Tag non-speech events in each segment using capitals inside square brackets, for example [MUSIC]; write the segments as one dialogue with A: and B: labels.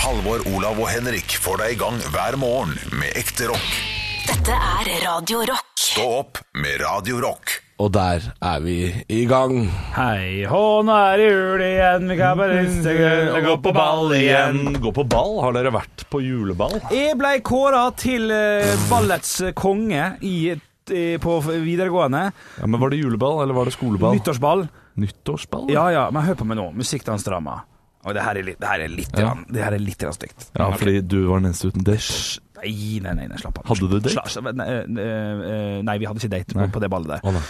A: Halvor, Olav og Henrik får deg i gang hver morgen med ekte rock.
B: Dette er Radio Rock.
A: Stå opp med Radio Rock.
C: Og der er vi i gang.
D: Hei hå, nå er det jul igjen, vi kan bare riste grønn
E: Eh,
D: og gå på ball igjen.
E: Gå på ball? Har dere vært på juleball?
D: Jeg ble kåra til eh, ballets konge i, eh, på videregående.
E: Ja, men Var det juleball, eller var det skoleball?
D: Nyttårsball.
E: Nyttårsball?
D: Ja ja, men hør på meg nå. Musikkdansdrama. Og det her er litt, det her er litt, grann- det her er litt grann stygt.
E: ja, fordi du var den eneste uten dash.
D: Nei, nei, nei, nei, slapp av.
E: Hadde du date?
D: Slapp- slapp- nei, eh, eh, nei, vi hadde ikke date på,
E: Nei.
D: på det ballet der.
E: Å, nei.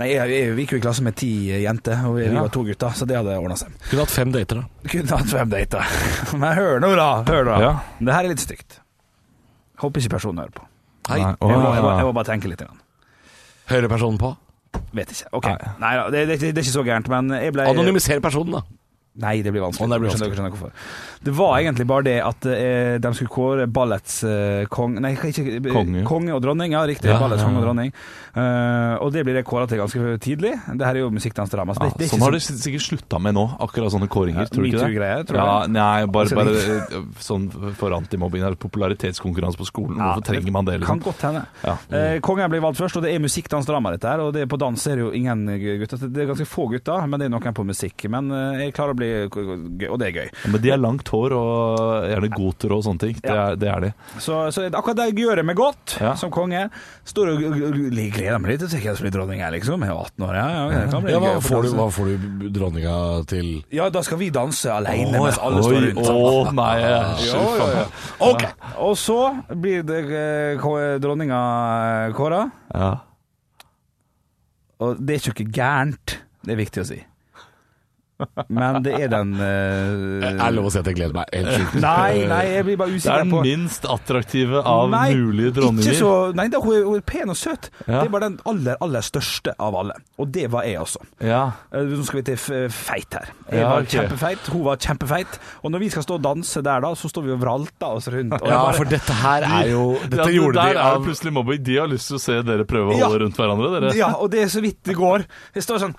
D: Nei, jeg, jeg, Vi gikk jo i klasse med ti eh, jenter, og vi, vi
E: Ja.
D: var to gutter, så det hadde ordna seg.
C: Kunne hatt fem dater, da.
D: Kunne hatt fem dater. [LAUGHS] Men hør nå, da. Hør nå.
E: Ja.
D: Det her er litt stygt. Håper ikke personen hører på.
C: Hei.
E: Nei,
D: Jeg må,
E: å,
D: jeg må, jeg
E: ja.
D: må bare tenke litt. Grann.
C: Hører personen på?
D: Vet ikke. Ok.
E: Nei.
D: Nei da, det, det, det er ikke så gærent, men jeg ble
C: Anonymiser personen, da.
D: Nei, det blir vanskelig.
C: Å, det blir
D: Skjønner dere- skjønner dere hvorfor. Det var egentlig bare det at eh, de skulle kåre ballets eh, kong... Nei, ikke eh,
E: Konge.
D: konge og dronning. Ja, riktig.
C: Ja,
D: ballets
C: ja,
D: konge og
C: ja.
D: dronning. Eh, og det blir det kåra til ganske tidlig. Det her er jo musikkdansdrama. Så det,
E: Ja,
D: det er ikke
E: sånn har
D: så-
E: de sikkert slutta med nå, akkurat sånne kåringer.
D: Ja,
E: tror du ikke det?
D: metoo-greier, tror
E: ja,
D: jeg.
E: nei, bare,
D: Altså,
E: bare
D: det-
E: eh, sånn for antimobbing. eller Popularitetskonkurranse på skolen.
D: Ja,
E: Hvorfor trenger man det?
D: Kan
E: Liksom?
D: godt hende.
E: Ja.
D: Eh, kongen blir valgt først, og det er musikkdansdrama dette her. Og det, på dans er det jo ingen gutter. Så Det er ganske få gutter, men det er noen på musikk. Men eh, jeg klarer å bli gøy, og det er gøy.
E: Men de har langt hår og gjerne goter og sånne ting. Det
D: Ja.
E: er, det er de.
D: Så, så akkurat det gjør jeg meg godt
E: Ja.
D: som konge. Står og og- og gleder meg litt til jeg skal bli dronning her, liksom. Jeg er 18 år, ja. ja, det kan bli
C: Ja, hva,
D: gøy å få
C: får du,
D: danse.
C: hva får du dronninga til
D: ja da skal vi danse alene
C: Å,
D: mens
C: ja.
D: alle står
E: Oi,
D: rundt.
E: å nei.
D: Ja, ja, ja. Ok, Og så blir det eh, ko- dronninga eh, kåra,
E: Ja.
D: og det er ikke noe gærent, det er viktig å si. Men det er den eh,
C: Jeg er lov å si at jeg gleder meg
E: eh,
C: helt sjukt.
D: Nei, nei, jeg blir bare
E: Det
D: usikker
E: er den
D: på
E: minst attraktive av mulige dronninger.
D: Ikke så, nei, da, hun, er, hun er pen og søt.
E: Ja.
D: Det er bare den aller, aller største av alle. Og det var jeg, altså.
E: Ja.
D: Eh, Nå skal vi til f- feit her. Jeg
E: Ja,
D: var
E: ok.
D: kjempefeit, hun var kjempefeit. Og når vi skal stå og danse der, da, så står vi og vralter oss rundt. Og
C: Ja,
D: jeg bare-
C: for dette her er jo Dette
E: Ja,
C: gjorde
E: der
C: de
E: er det
C: av
E: plutselig mobbing. De har lyst til å se dere prøve å
D: Ja.
E: holde rundt hverandre, dere.
D: ja, og det er så vidt det går. Jeg står sånn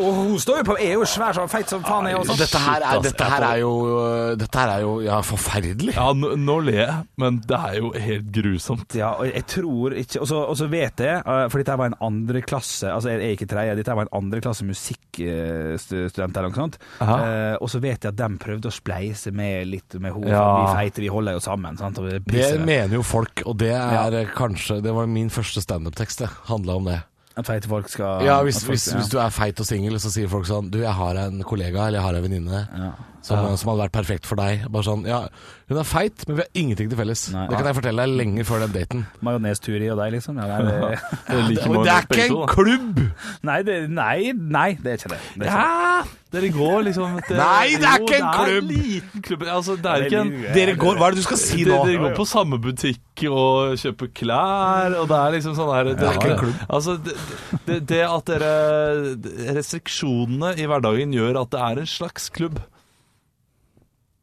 D: Og hun står jo på Jeg er jo svær som feit som faen, jeg
C: Og
D: også.
C: dette her, er,
E: Shit, ass.
C: dette her er jo øh, Dette her er jo ja, forferdelig.
E: Ja, nå, nå ler jeg, men det er jo helt grusomt.
D: Ja, og jeg tror ikke Og så, og så vet jeg, eh, for dette her var en andre klasse Altså, jeg er ikke tredje, dette her var en andre klasse musikkstudent eller noe sånt.
E: Aha.
D: Eh, og så vet jeg at de prøvde å spleise med litt med henne,
E: Ja.
D: for vi feite, vi holder jo sammen. Sant? Og vi
C: Det
D: pisser.
C: mener jo folk, og det er øh, kanskje Det var min første standup-tekst, det. Handla om det.
D: At feite folk skal
C: Ja, hvis,
D: at folk-
C: hvis, hvis du er feit og singel, så sier folk sånn Du, jeg har en kollega, eller jeg har en venninne
D: Ja.
C: som, som hadde vært perfekt for deg. Bare sånn Ja, hun er feit, men vi har ingenting til felles.
D: Nei.
C: det kan jeg fortelle deg lenge før den daten.
D: Majonesturi og deg, liksom? Ja,
C: [LAUGHS]
D: nei, det,
E: Dere liker
C: Og det er
E: Magnus
C: ikke
E: begge
C: en
E: to, da.
C: klubb!
D: nei, det, nei, nei, det er ikke det. det, er ikke det.
E: Ja, dere går liksom til
C: Nei, det er ikke en klubb.
E: Jo, det er en liten klubb. Altså, det
D: Det
E: er
D: er
E: ikke en
D: litt-
C: Dere går Hva er det du skal si
E: dere,
C: nå?
E: dere går på samme butikk og kjøper klær, og det er liksom sånn her Det
C: er ikke en klubb.
E: Altså, det, det, det at dere Restriksjonene i hverdagen gjør at det er en slags klubb.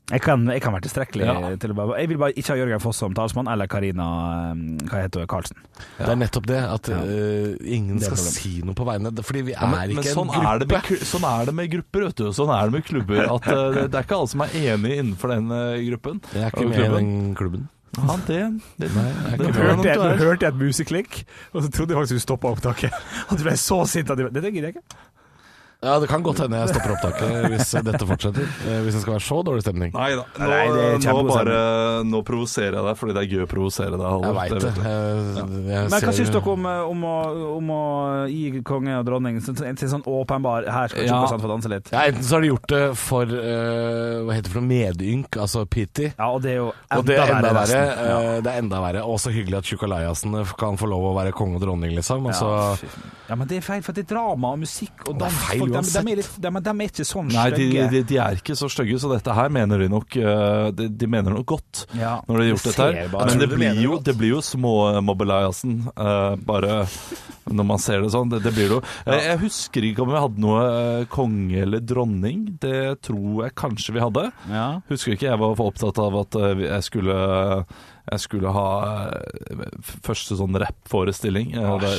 D: Jeg kan, jeg kan være tilstrekkelig
E: Ja.
D: til å bare Jeg vil bare ikke ha Jørgen Foss som talsmann, eller Karina eh, Hva heter hun? Karlsen.
C: Det er nettopp det, at øh, ingen
D: Det er
C: skal
D: problemet.
C: si noe på vegne Fordi vi er
E: Men, men
C: ikke
E: sånn,
C: en
E: er det med,
C: gruppe.
E: klu- sånn er det med grupper, vet du. Sånn er det med klubber.
C: [LAUGHS]
E: At eh, det, det er ikke alle som er enig innenfor den eh, gruppen.
C: Jeg er ikke
E: Og
C: med i
E: klubben.
C: den klubben.
E: Ja, det, det,
C: jeg er
E: det
C: ikke
E: tror jeg nok du er.
D: et museklikk, og så trodde jeg faktisk du stoppa opptaket. [LAUGHS] Og du ble så sint at du Dette gidder jeg ikke.
C: Ja, Det kan godt hende jeg stopper opptaket hvis dette fortsetter. Eh, Hvis det skal være så dårlig stemning.
E: Nei da. Nå,
D: Nei, det er
E: nå,
D: kjempebestemt.
E: bare, nå provoserer jeg deg fordi det er gøy å provosere deg. Halvor.
C: Jeg veit
E: Det
C: det.
E: vet du.
C: Jeg, jeg
D: Men hva
C: ser-
D: syns dere om, eh, om, å, om å gi konge og dronning til en sånn åpenbar Her skal
E: Ja.
D: Tjokkasan få danse litt.
C: Ja, enten så har de gjort det for eh, Hva heter det for noe? Medynk, altså pity.
D: Ja, og det er jo
C: Og det er enda verre.
D: resten. Ja.
C: eh, Det er enda verre. Og så hyggelig at tjukalayasene kan få lov å være konge og dronning, liksom. Og så
D: Ja, fy f- ja, men det er feil, for det er drama og musikk og
C: Det er
D: dans.
C: feil
D: Folk, de, de,
C: uansett.
D: er litt, de, de er ikke sånn
E: Nei, de,
D: stygge.
E: de, de er ikke så stygge, så dette her mener de nok eh, De, de mener noe godt
D: Ja,
E: når de har gjort
D: det
E: dette
D: ser bare-
E: her.
D: Jeg
E: Men
D: tror
E: det
D: de
E: blir
D: mener
E: jo,
D: godt.
E: det blir jo små mobbelajasen, bare når man ser det sånn. Det, det blir det jo. Eh, Jeg husker ikke om vi hadde noe eh, konge eller dronning. Det tror jeg kanskje vi hadde.
D: Ja.
E: Husker ikke, jeg var for opptatt av at eh, vi- jeg skulle jeg skulle ha eh, f- første sånn rappforestilling. Eh, det,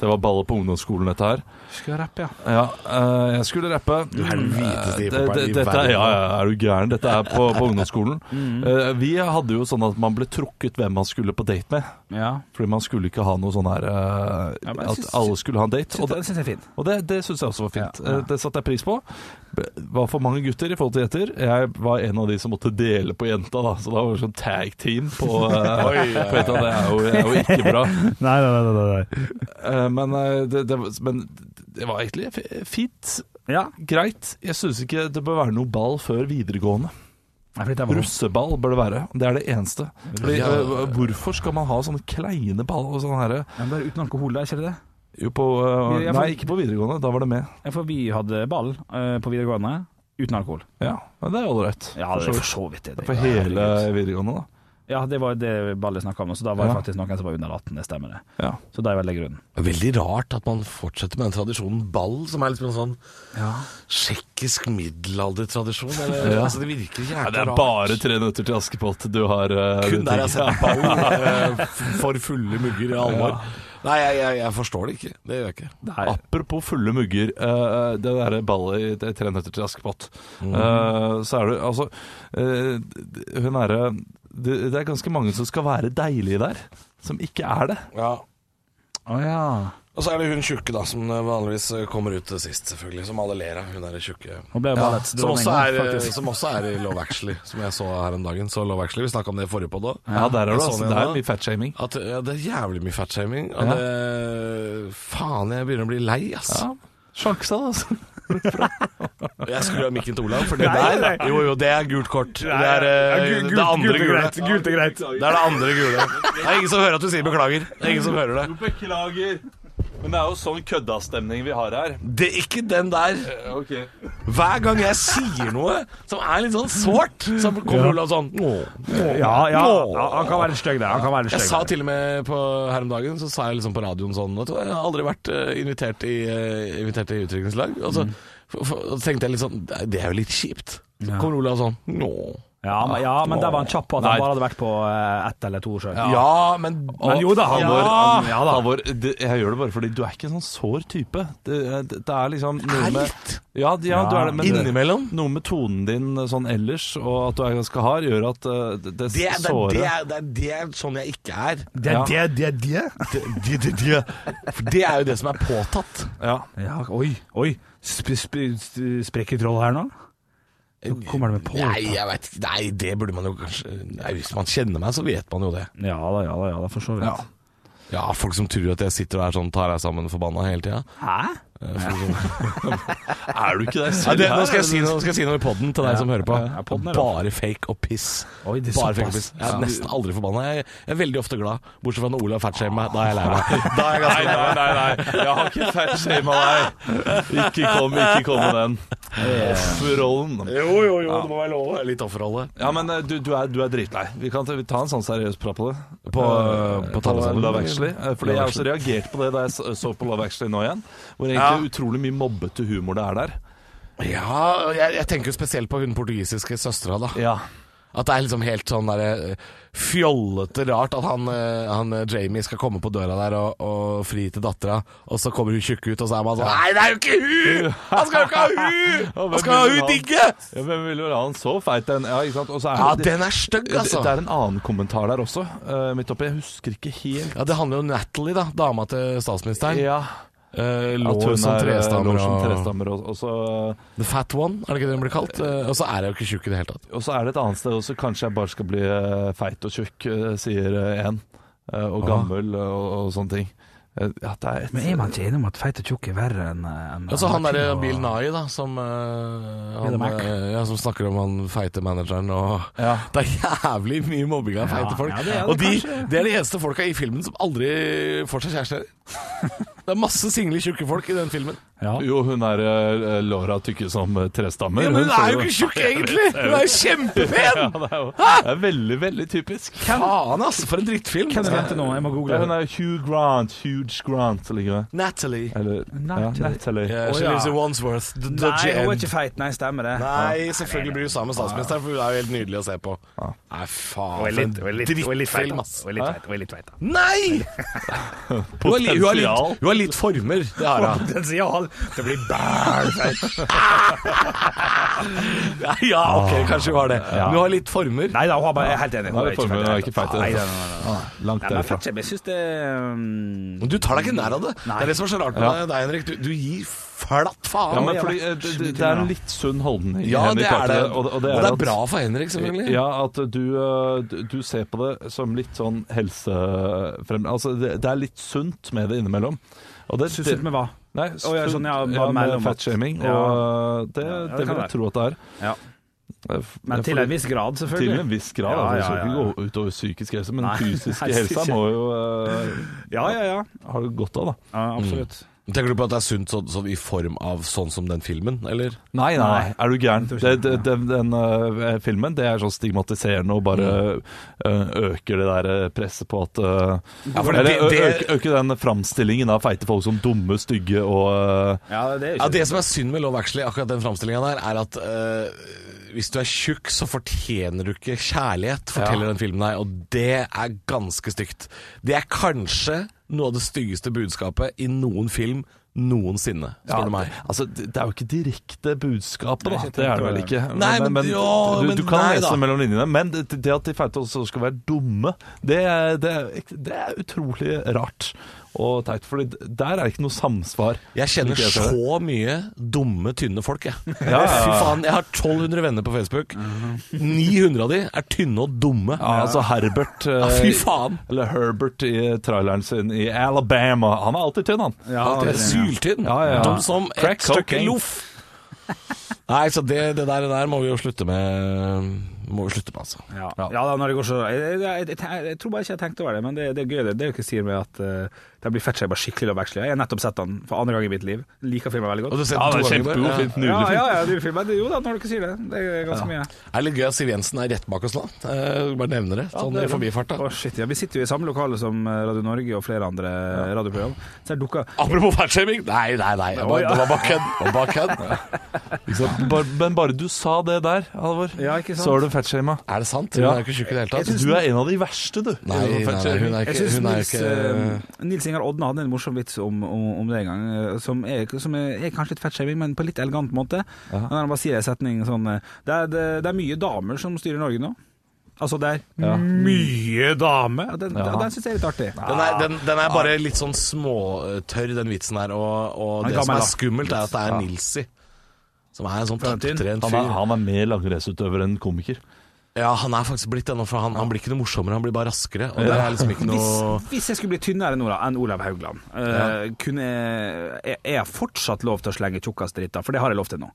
E: det var ballet på ungdomsskolen, dette her.
D: Skal jeg rappe, ja?
E: Ja, eh, jeg skulle rappe.
C: Du helveteste
E: Eh, det-
C: hiphoperen i
E: det- dette er-
C: verden.
E: Ja, ja, er du gæren? Dette er på,
D: [LAUGHS]
E: på ungdomsskolen.
D: Mm.
E: Eh, vi hadde jo sånn at man ble trukket hvem man skulle på date med.
D: ja.
E: Fordi man skulle ikke ha noe sånn her eh,
D: Ja, men jeg
E: At
D: synes-
E: alle skulle ha en date.
D: Synes,
E: Og det,
D: det syns jeg er fint.
E: og det, det syns jeg også var fint.
D: Ja, ja.
E: Eh, Det satte jeg pris på. Det var for mange gutter i forhold til jenter. Jeg var en av de som måtte dele på jenta, da. Så da var det sånn tag team på,
D: [LAUGHS]
E: eh, på jenta. Det er jo, er jo ikke bra.
F: Nei, nei, nei. nei, nei.
E: Eh, Men, eh, det, det, var- men det var egentlig f- fint.
D: Ja.
E: Greit. Jeg syns ikke det bør være noe ball før videregående.
D: Nei, fordi det var-
E: Russeball bør det være. Det er det eneste. Fordi,
C: Ja.
E: eh, Hvorfor skal man ha sånne kleine ball og sånn herre
D: Ja, men Bare uten alkohol, da, er ikke det det?
E: Jo, på øh,
D: Ja, for-
E: Nei, ikke på videregående. Da var det med.
D: Ja, For vi hadde ball eh, på videregående uten alkoholk.
E: Ja, men det er ålreit.
D: Ja, det er for så vidt det. det-
E: For
D: ja,
E: hele
D: herregud.
E: videregående, da.
D: Ja, det var det ballet snakka om, så da var det
E: Ja.
D: faktisk noen som var under 18, det stemmer det.
E: Ja.
D: Så det er veldig grunnen.
C: Veldig rart at man fortsetter med den tradisjonen ball, som er liksom en sånn tsjekkisk middelaldertradisjon. eller-
E: Ja.
C: Altså, det virker jækla
E: Ja,
C: rart.
E: det er bare tre minutter til Askepott du har øh,
C: Kun
E: du
C: der jeg har
D: altså.
E: tenker.
C: sett ball eh, f- for fulle mugger i alvor. Nei, jeg, jeg, jeg forstår det ikke. Det gjør jeg ikke.
D: Nei.
E: Apropos fulle mugger, eh, det derre ballet i det- Tre nøtter til Askepott.
C: Mhm.
E: Eh, så er det altså eh, d- Hun er eh, det, det er ganske mange som skal være deilige der, som ikke er det.
C: Ja.
D: Å ja.
C: Og så er det hun tjukke, da, som vanligvis eh, kommer ut sist, selvfølgelig. Som alle ler av. Hun er tjukke.
D: Hun ble jo
C: Ja,
D: ballets
C: som, også
D: dronning,
C: er, eh,
D: faktisk.
C: som også er i Love Actually, som jeg så her om dagen. Så Love Actually, Vi snakka om det i forrige podd òg.
E: Ja, der er det,
C: jeg så
E: altså,
C: den
E: det er
C: da.
E: mye fatshaming.
C: At ja, Det er jævlig mye fatshaming. og
E: Ja.
C: det- Faen, jeg begynner å bli lei, ass.
E: Ja, Sjansa, altså.
C: Jeg skulle ha mikken til Olav, for det
D: Nei,
C: der Jo, jo, det er gult kort. Det er eh,
D: Ja, gu-
C: det
D: gult-
C: andre
D: gult er
C: gule.
D: greit, gult er greit.
C: Det er det andre gule. Det er ingen som hører at du sier beklager. Det er ingen som hører det.
E: Beklager. Men det er jo sånn køddastemning vi har her.
C: Det er ikke den der.
D: Eh,
E: Okay.
C: Hver gang jeg sier noe som er litt sånn sårt, så kommer Olav sånn «Åh».
D: Ja, ja,
C: Åh.
D: ja, han kan være litt stygg der. Han kan være litt
C: Jeg
D: stygg
C: sa
D: der.
C: til og med på, her om dagen Så sa jeg liksom på radioen sånn vet du hva, Jeg har aldri vært eh, invitert i, uh, invitert i utdrikningslag Og så f- f- og så tenkte jeg litt sånn «Nei, Det er jo litt kjipt Så kommer Olav sånn «Nå».
D: ja, men, ja, men der var han kjapp på at
E: Nei.
D: han bare hadde vært på eh, ett eller to sjøl.
C: ja. men
D: Men jo da, han
E: Halvor,
D: var-
E: han-
D: ja da.
E: Halvor, det, jeg gjør det bare fordi du er ikke en sånn sår type. Det, det, det er liksom noe
C: Er
E: med
C: litt
E: ja, d- ja, du er det, men det,
C: Innimellom
E: noe med tonen din eh, sånn ellers, og at du er ganske hard, gjør at eh, det, det,
C: det, er- det, er-
E: sårer.
C: det, er- det, er- det er sånn jeg ikke er det,
F: Det er
E: Ja.
F: det, det er det.
C: det, det, det. For det er jo det som er påtatt
E: Ja.
D: Ja, oi, oi. Sp sp sp sprekker troll her nå? Så kommer det med på.
C: Nei, jeg vet ikke Nei, det burde man jo kanskje nei, Hvis man kjenner meg, så vet man jo det
D: Ja da, ja da, ja da, for så vidt.
E: Ja.
C: Ja, folk som tror at jeg sitter og er sånn Tar deg sammen forbanna hele tiden
D: Hæ?
C: Eh, folk som-
E: Er du [LAUGHS] [LAUGHS] ikke deg
C: sånn. [LAUGHS] Ja,
E: selv
C: det, nå,
E: her?
C: skal jeg si noe, nå skal jeg si noe i podden til deg som hører på.
D: Ja, podden er
C: Bare fake og piss.
D: Oi, det er
C: Bare fake og
D: såpass.
C: piss. Jeg er nesten aldri forbanna. Jeg jeg er veldig ofte glad, bortsett fra når Olav fatshamer meg. Da er jeg lei meg. Da er jeg ganske lei
E: Nei,
C: meg.
E: nei, nei. Jeg har ikke fatshama deg. Ikke
C: [LAUGHS]
E: kom, ikke kom med den. Offerrollen.
C: Jo, jo, jo, det må være lov. Litt offerrolle.
E: Ja, men eh, du, du, er, du er dritlei. Vi kan ta, vi ta en sånn seriøs prat på det.
C: På,
E: Eh,
C: på talesammen.
E: Love Actually. eh, Fordi
C: Love
E: jeg også
C: Actually.
E: reagerte på det da jeg s- så på Love Actually nå igjen. Hvor egentlig utrolig mye mobbete humor det er der.
C: Ja, jeg, jeg tenker jo spesielt på hun portugisiske søstera, da.
E: Ja.
C: At det er liksom helt sånn derre fjollete rart at han, eh, han eh, Jamie skal komme på døra der og, og fri til dattera, og så kommer hun tjukk ut, og så er man sånn Nei, det er jo ikke hun! Han skal jo ikke ha
E: [LAUGHS]
C: hun! Han skal ha hun digge!
E: Hvem ville vel ha en så feit en? Ja, ikke sant? Og så er
C: Ja,
E: det,
C: den er stygg,
E: det,
C: altså.
E: det er en annen kommentar der også, eh, midt oppi. Jeg husker ikke helt.
C: Ja, Det handler jo om Natalie, da, dama til statsministeren.
E: Ja,
C: Eh,
E: at hun
C: lå som
E: er, eh,
C: trestammer
E: lå som
C: og
E: trestammer. Og, og, så,
C: The Fat One, er det ikke det hun blir kalt? Eh, og så er jeg jo ikke tjukk i det hele tatt.
E: og så er det et annet sted også. Kanskje jeg bare skal bli eh, feit og tjukk, eh, sier eh, en. eh, Og
C: Ah.
E: gammel og, og sånne ting. Eh, Ja, det er et
D: Men er man ikke enig om at feit og tjukk er verre enn eh, enn-
C: Og så han
D: enn-
C: derre
D: og-
C: Bill Nye, da, som, eh,
D: Bill
C: han,
D: Mac.
C: eh, ja, som snakker om han feite manageren og
E: ja.
C: [LAUGHS] Det er jævlig mye mobbing av feite folk.
D: ja, det er det
C: og de,
D: kanskje. [LAUGHS]
C: det er de eneste folka i filmen som aldri får seg kjærester. Det er masse single tjukke folk i den filmen.
D: Ja.
E: Jo, hun er eh, Laura tykke som eh, trestammer.
C: Ja, men hun
E: ser
C: er jo
E: jo- [LAUGHS]
C: ikke tjukk, egentlig! Hun er jo kjempepen!
D: [LAUGHS]
E: Ja, det er jo det er veldig, veldig typisk.
C: Faen, ass, for en drittfilm.
D: Hvem er jente nå? Jeg må
E: Ja,
D: google.
E: hun er Hugh Grant. Huge Grant, ligger det.
C: Natalie.
E: Eller
D: Natalie.
E: Ja, Natalie.
C: Yeah,
D: Å,
C: she
D: ja.
C: lives in Wandsworth. The
D: Nei,
C: dodgy
D: hun er
C: end.
D: ikke feit. Nei, stemmer det. [LAUGHS]
C: Nei, selvfølgelig blir du sammen med statsministeren, for hun er jo helt nydelig å se på. Nei, faen, for en drittfilm, ass. Nei! Hun har, li- hun, har litt, hun har litt former, det har
D: [LAUGHS]
C: hun.
D: Potensial! Det blir
C: Ja, ja, ok, kanskje hun har det. Ah, Men hun har litt former.
D: Nei da, hun har bare, jeg er helt enig.
E: Nei, det er formuen, hun er ikke feit. Ah,
D: Nei, nei, nei, nei.
E: Langt
D: Nei, men
E: derfra.
D: fettkjem, jeg syns det um,
C: Men Du tar deg ikke nær av det. Det er det som er så rart med deg, deg, Henrik. Du, du gir flatt faen.
E: Ja,
C: Ja,
E: men fordi eh, det, det, det er en litt sunn holdning. i
C: det er
E: Carter,
C: det.
E: Og, og det er, at-
C: bra for Henrik, selvfølgelig.
E: Ja, at du, eh, du- du ser på det som litt sånn helsefrem... Altså, det, det er litt sunt med det innimellom. Og det,
D: Syns du med hva?
E: Nei,
D: Å, ja, sånn, ja,
E: ja,
D: bare
E: med
D: mellom at-
E: fatshaming. Og
D: Ja.
E: eh, det,
D: Ja,
E: det,
D: det kan
E: vil
D: være.
E: jeg tro at det er.
D: Ja.
E: Det er f-
D: Men til
E: fordi-
D: en viss grad,
E: til en
D: selvfølgelig.
E: viss grad.
D: Ja,
E: altså, det
D: ja,
E: skal
D: ja,
E: ikke
D: ja.
E: gå utover psykisk helse, men
D: Nei, [LAUGHS]
E: fysisk
D: helst
E: helse
D: ikke.
E: må jo eh,
D: Ja, ja, ja.
E: ha det godt av, da.
D: ja absolutt.
C: Tenker du på at det er sunt sånn, sånn i form av sånn som den filmen, eller?
E: Nei, nei, nei, er du gæren?
D: Jeg
E: Det,
D: tror ikke
E: det, den, den øh, filmen det er sånn stigmatiserende og bare øh, øker det der øh, presset på at øh,
C: for
E: Eller
C: det-
E: ø-
C: det-
E: øker, øker den framstillingen av feite folk som dumme, stygge og øh,
D: Ja, det er
C: Ja,
D: jo ikke
C: Det som er synd med Love Actually, akkurat den framstillinga der, er at eh, hvis du er tjukk, så fortjener du ikke kjærlighet, forteller den filmen her, og det er ganske stygt. Det er kanskje noe av det styggeste budskapet i noen film noensinne, spør du meg.
E: Altså, det det er jo ikke direkte budskapet, da.
D: Nei, jeg
E: Det er det
D: tenkte
E: vel
D: det.
E: ikke.
C: Nei, men- ja,
E: du,
C: men
E: du kan
C: nei,
E: lese
C: da.
E: mellom linjene. Men det, det at de feite også skal være dumme, det, er- det, er ek- det er utrolig rart og teit. For der er det ikke noe samsvar.
C: Jeg kjenner
E: Slik jeg ser det.
C: så mye dumme, tynne folk, jeg.
E: [LAUGHS] ja, ja. Mhm.
C: Fy faen, jeg har 1200 venner på Facebook. 900 av de er tynne og dumme.
E: Ja, altså Herbert
C: Ja,
E: eh,
C: fy faen.
E: Eller Herbert i traileren sin i Alabama. Han er alltid tynn, han.
D: ja,
C: Han er
D: det er-
C: Syltynn.
E: Ja, ja, ja.
C: Dum som
E: Crack
C: et stykke
E: cocaine.
C: loff. [LAUGHS] Nei, så det, det, der, det der må vi jo slutte med, må vi slutte med altså.
D: Ja. ja da, når det går så jeg, jeg, jeg, jeg, jeg tror bare ikke jeg tenkte over det, men det, det er gøy. Det, det er jo ikke sier med at uh, det blir fett seg bare skikkelig lov Jeg har nettopp sett den for andre gang i mitt liv. Liker filmen veldig
C: Og
D: godt.
C: du ser
E: Ja, det
C: to
E: er
C: ganger
E: kjempegod
C: bare,
E: film.
D: Ja,
E: Nydelig
D: ja,
E: film.
D: ja, du filmen, det- jo da, når du ikke sier det. Det er ganske mye.
C: ja. Det er litt gøy at Siv Jensen er rett bak oss nå. Eh, bare nevner det, sånn i
D: det er det.
C: forbifarta.
D: Å, shit, ja, Vi sitter jo i samme lokale som eh, Radio Norge og flere andre eh, radioprogram. Så her dukker
C: Apropos fatshaming! Nei, nei, nei. Det var,
D: ja.
C: det var bare kødd. Det var bare kødd.
E: Ikke sant? Bare- Men bare du sa det der, Halvor,
D: Ja, ikke sant?
E: så er du fatshama.
C: Er det sant? Hun
E: Ja.
C: er jo ikke tjukk i det hele tatt.
E: Du er en av de verste, du.
C: Nei, nei, nei, hun er
D: Jeg
C: ikke,
D: syns
C: hun er
D: Nils,
C: ikke
D: eh, Nils Ingar Odne hadde en morsom vits om, om, om det en gang, eh, som er, som er, er kanskje litt fettshaming, men på litt elegant måte. Når han bare sier en setning sånn eh, det er, det, det er mye damer som styrer Norge nå. Altså, det er mye damer. Den,
E: Ja.
D: den syns jeg er litt artig.
C: Den er, den, den er bare litt sånn småtørr, den vitsen her. Og, og
D: Han
C: det
D: ga
C: som
D: meg
C: er
D: da.
C: skummelt, er at det er Nilsi. Som er en sånn
D: For en tynn.
C: topptrent
E: Han er,
C: fyr.
E: han er mer langrennsutøver enn komiker.
C: Ja, han er faktisk blitt det nå, for han, han blir ikke noe morsommere, han blir bare raskere. Og det er
D: [LAUGHS]
C: liksom ikke noe
D: Hvis, hvis jeg skulle bli tynnere enn Olav, enn Olav Haugland, eh, kunne jeg, er jeg fortsatt lov til å slenge tjukkasdritter? For det har jeg lov til nå.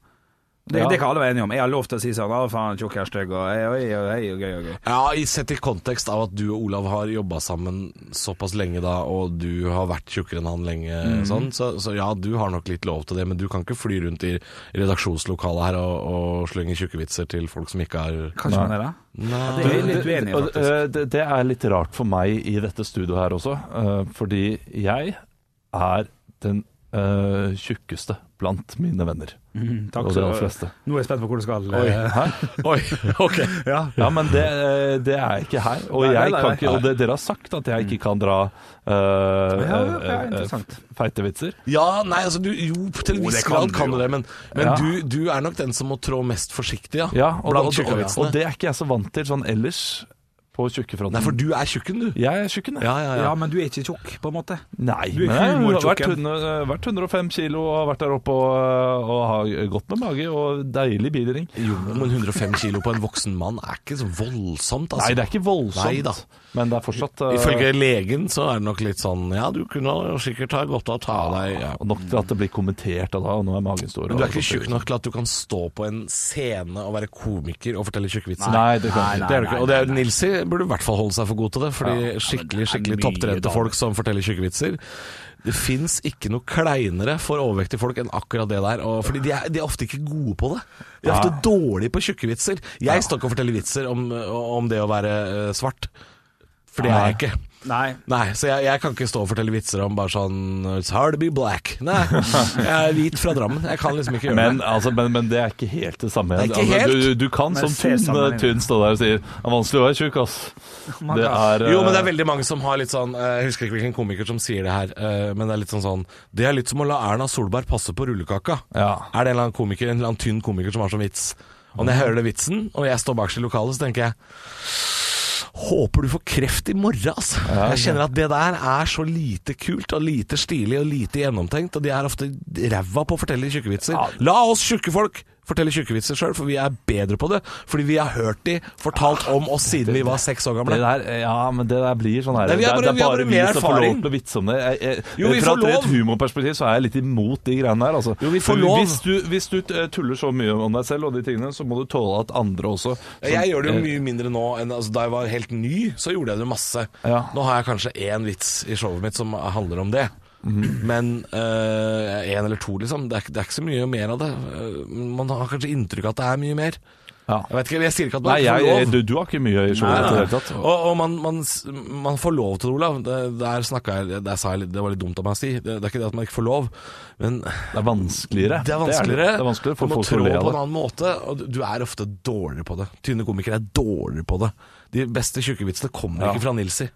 D: Det,
E: Ja.
D: det kan alle være enige om. Jeg har lov til å si sånn 'Å, faen, tjukk er stygg', og ei, oi, oi, oi, og gøy, og gøy.
C: Ja, i- Sett i kontekst av at du og Olav har jobba sammen såpass lenge da, og du har vært tjukkere enn han lenge, sånn, så, så ja, du har nok litt lov til det. Men du kan ikke fly rundt i redaksjonslokalet her og, og slenge tjukke vitser til folk som ikke har
D: Kanskje man er det?
C: Nei.
D: Det er jeg litt uenig, i,
E: Og,
D: faktisk.
E: eh, det, det er litt rart for meg i dette studioet her også, eh, fordi jeg er den eh, tjukkeste blant mine venner.
D: Takk
E: og de
D: skal du
E: aller
D: ha.
E: fleste.
D: Nå er jeg spent på hvor du skal.
E: Oi,
D: eh,
E: hæ? [LAUGHS]
C: Oi, ok.
D: Ja.
E: Ja, men det, eh, det er jeg ikke her. Og,
D: Nei, nei,
E: jeg
D: nei,
E: kan
D: nei.
E: ikke, og det, dere har sagt at jeg ikke kan dra eh,
D: ja, ja,
E: eh,
D: interessant.
E: eh, feite vitser.
C: Ja, nei, altså du, Jo, til en
D: Jo,
C: viss
D: det kan
C: grad
D: du
C: kan
D: jo.
C: du det, men, men
E: Ja.
C: du, du er nok den som må trå mest forsiktig, ja.
E: Ja, og,
C: blant
E: og, og, og
C: tjukkevitsene.
E: det er ikke jeg så vant til sånn ellers på tjukkefronten.
C: Nei, for du er tjukken, du.
E: Jeg er tjukken, jeg.
C: Ja, ja, ja.
D: ja, men du er ikke tjukk, på en måte.
E: Nei,
D: Du er
E: men jeg har vært,
D: humortjukken.
E: 100, vært 105 kilo og har vært der oppe og, eh, og har godt med mage og deilig bilring.
C: Jo, men 105 kilo på en voksen mann er ikke så voldsomt, altså.
E: Nei, det er ikke voldsomt,
C: Nei da.
E: men det er fortsatt eh,
C: Ifølge legen så er det nok litt sånn Ja, du kunne jo sikkert ha godt av å ta av deg ja.
E: og Nok til at det blir kommentert da, og nå er magen stor.
C: Men du er ikke
E: og-
C: tjukk nok til at du kan stå på en scene og være komiker og fortelle tjukke vitser.
E: Nei, det, kan,
D: Nei, nei,
C: Det
E: det er
C: er du ikke.
E: det ikke.
C: Og det er Nilsi burde i hvert fall holde seg for god til det. Fordi skikkelig skikkelig topptrente folk som forteller tjukke vitser Det fins ikke noe kleinere for overvektige folk enn akkurat det der. Og, fordi de er, de er ofte ikke gode på det. De er ofte dårlige på tjukke vitser. Jeg står ikke og forteller vitser om, om det å være eh, svart. For det er jeg ikke.
D: Nei.
C: Nei, så jeg, jeg kan ikke stå og fortelle vitser om bare sånn It's hard to be black. Nei, jeg er hvit fra Drammen. Jeg kan liksom ikke gjøre
E: Men,
C: det.
E: altså, men, men det er ikke helt det samme.
C: Det er ikke
E: altså,
C: helt.
E: du, du kan
D: Men
E: som
D: ser
E: tynn,
D: sammenhengen.
E: tynn stå der og si Det er vanskelig å være tjukk, ass. Det er
C: Oh Jo, men det er
E: eh,
C: veldig mange som har litt sånn eh, Jeg husker ikke hvilken komiker som sier det her, eh, men det er litt sånn sånn Det er litt som å la Erna Solberg passe på rullekaka.
E: Ja.
C: Er det en eller annen komiker, en eller annen tynn komiker som har sånn vits? Og når jeg hører den vitsen, og jeg står bakerst i lokalet, så tenker jeg Håper du får kreft i morgen, altså. Jeg kjenner at det der er så lite kult og lite stilig og lite gjennomtenkt, og de er ofte ræva på å fortelle tjukke vitser. La oss tjukke folk fortelle tjukke vitser sjøl, for vi er bedre på det. Fordi vi har hørt de fortalt om oss siden vi var seks år
E: Det
C: gamle.
E: der, ja, men det der blir sånn her
C: Nei, vi har
E: Det
C: bare-
E: er
C: vi har bare
E: vi
C: mer
E: som får lov
C: erfaring.
E: til å vitse om det. Jeg, jeg,
C: Jo, vi
E: fra
C: får
E: et rent
C: lov.
E: humorperspektiv så er jeg litt imot de greiene der. Altså.
C: Jo, vi får
E: Men
C: lov.
E: Hvis du, hvis du eh, tuller så mye om deg selv og de tingene, så må du tåle at andre også som-
C: Jeg gjør det jo
E: eh,
C: mye mindre nå enn altså, da jeg var helt ny, så gjorde jeg det jo masse.
E: Ja.
C: Nå har jeg kanskje én vits i showet mitt som handler om det.
E: Mhm.
C: Men én eller to, liksom. Det er, ikke- det er ikke så mye mer av det. Eh, man har kanskje inntrykk av at det er mye mer.
E: eh, Ja.
C: Jeg vet ikke, jeg sier ikke at man
E: Nei,
C: ikke
E: jeg,
C: får
E: jeg,
C: lov.
E: du, du har ikke mye i showet i det hele tatt.
C: Og, og man, man, s- man får lov til det, Olav. Det, der snakket jeg, der sa jeg litt, det var litt dumt av meg å si. Det, det er ikke det at man ikke får lov, men
E: Det er vanskeligere.
C: det er vanskeligere.
E: Det er, det er vanskeligere for
C: du må
E: folk
C: trå
E: å le
C: på en
E: av det.
C: annen måte, og du- du er ofte dårligere på det. Tynne komikere er dårligere på det. De beste tjukkevitsene kommer
E: Ja.
C: ikke fra Nilsi.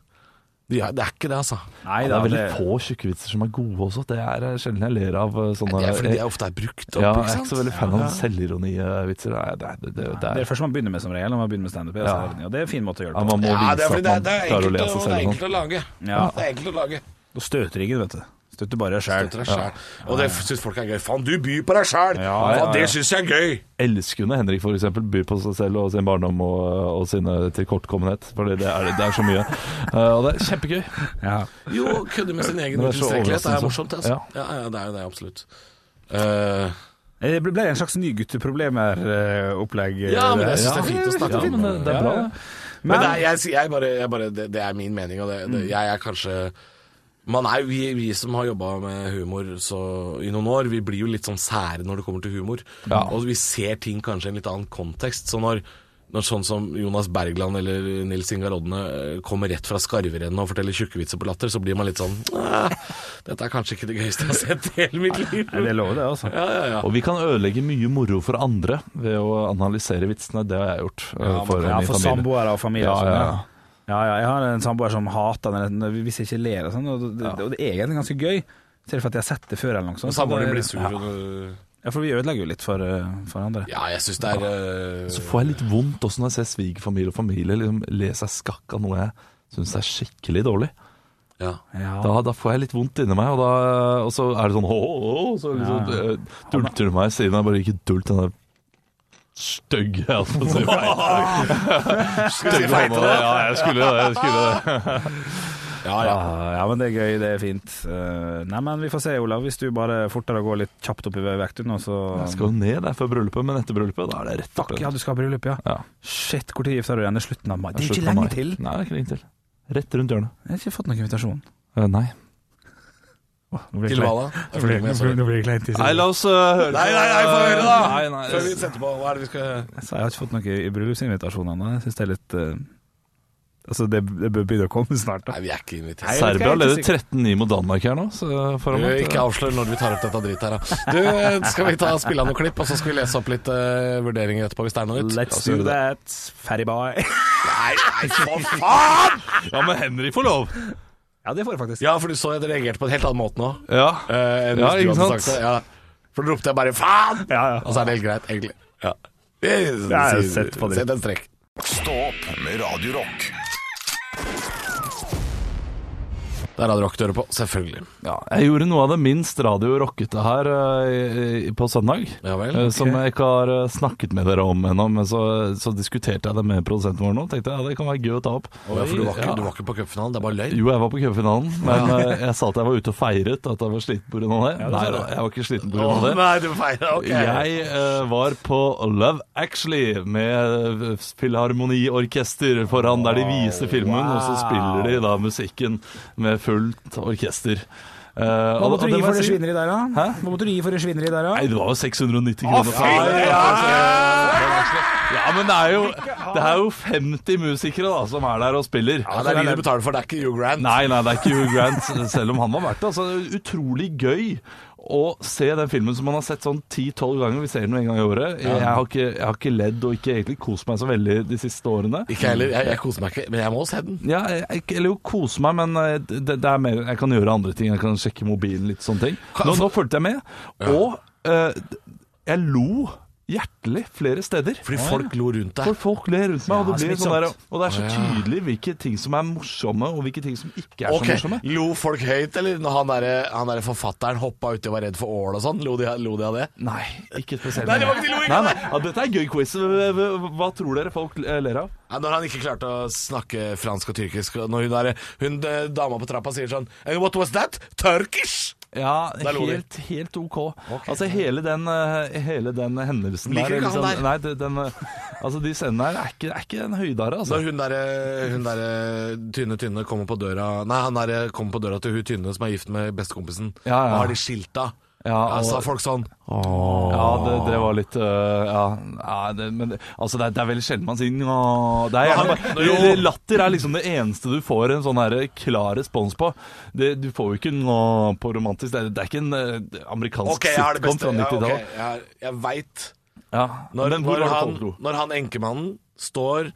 C: De er, det er ikke det, altså.
D: Nei,
E: Ja, det er veldig få tjukkevitser som er gode også. Det er eh, sjelden jeg ler av eh, sånne
C: Det er fordi de ofte er brukt opp,
E: ja,
C: ikke
E: jeg er
C: sant?
E: ikke så veldig fan av selvironivitser. Nei, det, det, det, det
D: Det er det
E: er
D: første man begynner med som regel når man begynner med standup. Ja.
E: Ja.
D: Og det er en fin måte å gjøre
E: ja,
D: det på.
E: Man må
C: Ja, det er
E: vise
C: fordi det,
E: at man
C: det er
E: klarer å
C: enkelt å,
E: le seg
C: det er
E: selv. og
C: enkelt å lage.
D: Ja.
C: Det er enkelt å lage.
D: Da støter ingen, vet du. Støtter bare deg
C: Støtter
D: sjæl.
C: deg selv. Og det syns folk er gøy. Faen, du byr på deg sjæl!
D: Ja, ja, ja.
C: Det syns jeg er gøy!
E: sånn. Elsker jo når Henrik for eksempel byr på seg selv og sin barndom og, eh, og sine tilkortkommenhet. Fordi det er, det er så mye. Eh, og det er kjempegøy.
D: Ja.
C: Jo, å kødde med sin egen
E: Men det er så
C: utilstrekkelighet er
E: overraskende.
C: morsomt, altså. Ja. ja, det er jo det, absolutt. Eh,
D: Det ble ble en slags eh, ny gutteproblemer-opplegg.
C: ja, men jeg syns det er fint å snakke om.
D: eh,
E: men det er bra. det.
C: Men, Mm. det, er, jeg, sier- jeg bare, jeg bare det, det er min mening, og det, det, jeg er kanskje man er, jo- vi, vi som har jobba med humor så, i noen år, vi blir jo litt sånn sære når det kommer til humor.
E: Ja.
C: Og vi ser ting kanskje i en litt annen kontekst. Så når, når sånn som Jonas Bergland eller Nils Ingar Odne eh, kommer rett fra skarverennet og forteller tjukkevitser på latter, så blir man litt sånn «Ah, Dette er kanskje ikke det gøyeste jeg har sett i hele mitt liv.
D: Det lover det, altså.
C: Ja, ja, ja.
E: Og vi kan ødelegge mye moro for andre ved å analysere vitsene. Det har jeg gjort. eh, for
D: Ja,
E: min
D: for
E: familie.
D: samboere og familie.
E: Ja,
D: og sånn,
E: ja,
D: ja. Ja, ja, jeg har en samboer som hater den hvis jeg ikke ler og sånn, og det, og det er egentlig ganske gøy. Ser du for at jeg har sett det før eller noe sånt.
C: Samboeren
D: så
C: din
D: det-
C: blir sur. og du-
D: Ja, for vi ødelegger jo litt for, eh, for andre.
C: Ja, jeg syns det er eh,
E: Så får jeg litt vondt også når jeg ser svigerfamilie og familie liksom le seg skakk av noe jeg syns er skikkelig dårlig.
C: ja.
E: Da, da får jeg litt vondt inni meg, og, da, og så er det sånn åh, åh, åh, så liksom, eh, dulter du meg i siden. Jeg bare ikke dult den der stygge altså, så feil. Stygge hånda. Ja, jeg skulle det. Jeg skulle det.
C: ja, ja.
D: Ja, ja, men det er gøy, det er fint. Eh, nei, men vi får se, Olav. Hvis du bare fortere går litt kjapt opp i vekt du nå, så
E: Jeg skal jo ned der før bryllupet, men etter bryllupet da er det rett opp.
D: Fuck, ja, du skal ha bryllup, ja.
E: Ja.
D: Shit, når gifter du deg? Det er slutten av mai. Det er
E: Slutt
D: ikke
E: av mai.
D: lenge til.
E: Nei, det er ikke lenge til. Rett rundt hjørnet.
D: Jeg har ikke fått noen invitasjon.
E: Eh, nei.
C: Til hva da? Jeg følger med, sorry.
D: blir det kleint.
E: Nei, la oss eh, høre
C: Nei, nei, nei, få høre da!
E: Nei, nei,
C: Før vi setter på, hva er det vi skal
D: Så jeg har ikke fått noen i bryllupsinvitasjon ennå. Jeg syns det er litt eh, Altså, det, det bør begynne å komme snart, da.
C: Nei, vi er ikke invitert.
D: Nei, jeg vet ikke,
E: Serbia
D: jeg er
E: leder
D: ikke
E: 13-9 mot Danmark her nå. Så
C: Du,
E: foran meg.
C: ikke avslør når vi tar opp dette dritt her, da. Du, eh, skal vi ta spille av noen klipp, og så skal vi lese opp litt eh, vurderinger etterpå hvis det er noe nytt?
D: Let's do that, fatty [LAUGHS] boy.
C: Nei, nei, for faen!
E: Ja, men Henrik får lov!
D: ja, det får jeg faktisk.
C: Ja, for du så jeg reagerte på en helt annen måte nå.
E: Ja,
C: eh, enn
E: Ja,
C: hvis du
E: ikke
C: hadde
E: sant?
C: sagt det. Ja. For da ropte jeg bare 'faen',
D: Ja, Altså, ja.
C: og så er det helt greit, egentlig. Ja.
D: Ja,
C: Jeg,
D: sett på det.
C: Sett en strekk.
A: Stå opp med Radio Rock.
C: Der hadde rockdører på, selvfølgelig.
E: Ja, jeg gjorde noe av det minst radio rockete her eh, i- på søndag.
C: Ja vel,
E: eh,
C: ok.
E: Som jeg ikke har eh, snakket med dere om ennå, men så, så diskuterte jeg det med produsenten vår nå. Tenkte jeg ja, det kan være gøy å ta opp.
C: ja, for du var, ikke,
E: Ja.
C: du var ikke på cupfinalen, det er bare løgn.
E: Jo, jeg var på cupfinalen, men eh, jeg sa at jeg var ute og feiret at jeg var sliten pga. det. Nei da, jeg var ikke sliten pga. det.
C: nei, du feirer,
E: Jeg eh, var på Love Actually med eh, Filharmoniorkester foran der de viser filmen, og så spiller de da musikken med fullt orkester. Eh,
D: Hva
E: og-
D: måtte
E: og
D: du gi
E: må
D: for
E: jeg
D: det
E: si-
D: svineriet der, da? Hva måtte du gi for det svineriet der, da?
E: Nei, det var jo 690 kroner. for alle. Ja, men det er, jo, det er jo 50 musikere da som er der og spiller. Altså,
C: Ja, det er de du betaler for, det er ikke Hugh Grant.
E: Nei, nei, det er ikke Hugh Grant, selv om han var verdt det. Altså, det er utrolig gøy å se den filmen som man har sett sånn 10-12 ganger. Vi ser den jo en gang i året. Jeg har, ikke, jeg har ikke ledd og ikke egentlig kost meg så veldig de siste årene.
C: Ikke jeg heller, jeg, jeg koser meg ikke, men jeg må se den.
E: Ja, jeg, jeg- eller jo kose meg, men eh, det, det er mer, jeg kan gjøre andre ting. Jeg kan sjekke mobilen, litt sånne ting. Nå, nå fulgte jeg med, og eh, jeg lo hjertelig flere steder.
C: Fordi folk lo rundt
E: For
C: deg.
E: folk ler rundt meg, og det, blir sånn der,
D: smittsomt.
E: og det er så
C: Å, ja.
E: tydelig hvilke ting som er morsomme, og hvilke ting som ikke er
C: Ok,
E: så morsomme.
C: Lo folk høyt, eller når han derre der forfatteren hoppa uti og var redd for ål og sånn? Lo, de- lo de av det?
E: Nei, ikke spesielt.
C: Nei, det var ikke- de lo ikke.
E: Nei, nei. Ja, dette er en gøy quiz. Hva- hva- Hva tror dere folk eh, ler av?
C: Ja, når han ikke klarte å snakke fransk og tyrkisk, og når hun, der, hun eh, dama på trappa sier sånn «And What was that? Turkish?
E: Ja,
C: Der lo de.
E: helt, helt OK. Altså, hele den, eh, hele den hendelsen
C: Liker
E: der,
C: ikke han
E: liksom-
C: der.
E: Nei, det- den, eh, altså, de scenene her er ikke, er ikke en høydare, altså.
C: Når hun derre hun derre tynne tynne kommer på døra Nei, han derre kommer på døra til hun tynne som er gift med bestekompisen.
E: Ja, ja.
C: Og har de skilta.
E: Ja,
C: Ja,
E: og-
C: sa folk sånn
E: Ja, det, det var litt øh, Ja, ja det, men det- altså, det, er- det er veldig sjelden man sier «Nå». det er, gjerne bare,
C: Jo.
E: Latter er liksom det eneste du får en sånn her klar respons på. Det, du får jo ikke «Nå» på romantisk. Det er, det er ikke en øh, amerikansk
C: Ok, jeg har det
E: sitcom
C: beste. Ja,
E: fra
C: ok,
E: 90-tallet.
C: jeg har- jeg veit.
E: Ja,
C: Når,
E: Men hvor
C: når,
E: var det
C: han-
E: folk lo?
C: når han enkemannen står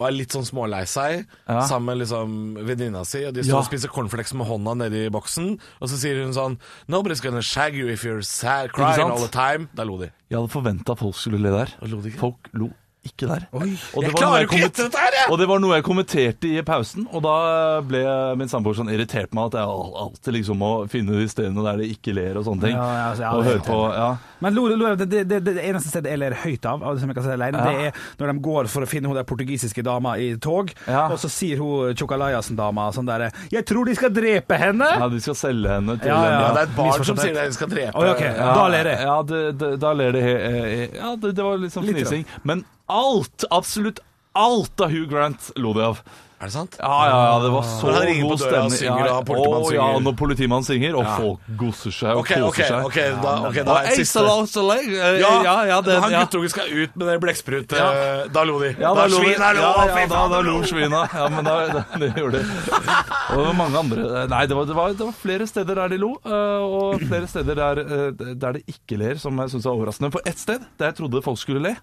C: og er litt sånn smålei seg
E: Ja.
C: sammen med liksom venninna si, og de står
E: Ja.
C: og spiser cornflakes med hånda nedi boksen, og så sier hun sånn Nobody's gonna shag you if you're sad, crying
E: sant?
C: all the time. Der lo de.
E: Jeg hadde forventa folk skulle le der.
C: Og lo de ikke?
E: Folk lo ikke der. Og
C: Jeg
E: var noe
C: klarer jo ikke å
E: komment-
C: gjette dette her, jeg!
E: Og det var noe jeg kommenterte i pausen, og da ble min samboer sånn irritert meg at jeg al- alltid liksom må finne de stedene der de ikke ler og sånne ting.
D: Ja, ja, altså, ja,
E: og
D: det er
E: høre på ja.
D: Men lo, lo, det, det, det, det eneste stedet jeg ler høyt av, av det som jeg kan si alene, det er når de går for å finne hun der portugisiske dama i tog,
E: Ja.
D: og så sier hun Chokalajasen-dama sånn derre 'Jeg tror de skal drepe henne!'
E: Nei, de skal selge henne til
D: Ja,
E: en-
C: Ja,
D: ja,
C: det er et barn som
D: misforstått.
C: sier det, de skal drepe
D: Oi, ok,
E: Ja,
D: Da ler jeg.
E: Ja, det, det, da ler de he- eh, Ja, det, det var litt sånn
D: Litt, da.
E: fnising. Men alt, absolutt alt av Hugh Grant lo de av.
C: Er det sant?
E: Ja, ja, ja, det var så
C: Når Ah. han ringer på
E: god
C: døra og
E: stemning.
C: synger,
E: ja,
C: og politimannen
E: å, ja,
C: synger.
E: når politimannen synger, og folk gosser seg og
C: Ok,
E: koser
C: ok,
E: seg.
C: ok, da, ok, da
E: Og
C: er det
E: Ace
C: siste.
E: of Lost Leg, eh,
C: Ja,
E: ja, ja, det,
C: han
E: ja.
C: guttungen skal ut med det blekksprut.
E: Ja.
C: eh, Da lo de.
E: Ja,
C: da
E: lo de-
C: svina lo,
E: ja, ja,
C: fy
E: da,
C: faen,
E: da
C: de
E: lo svina. Ja, men da, [LAUGHS] da, det gjorde de. Og det var mange andre Nei, det var, det var, det var flere steder der de lo, eh, og flere steder der, eh, der de ikke ler, som jeg syns er overraskende. For ett sted der jeg trodde folk skulle le,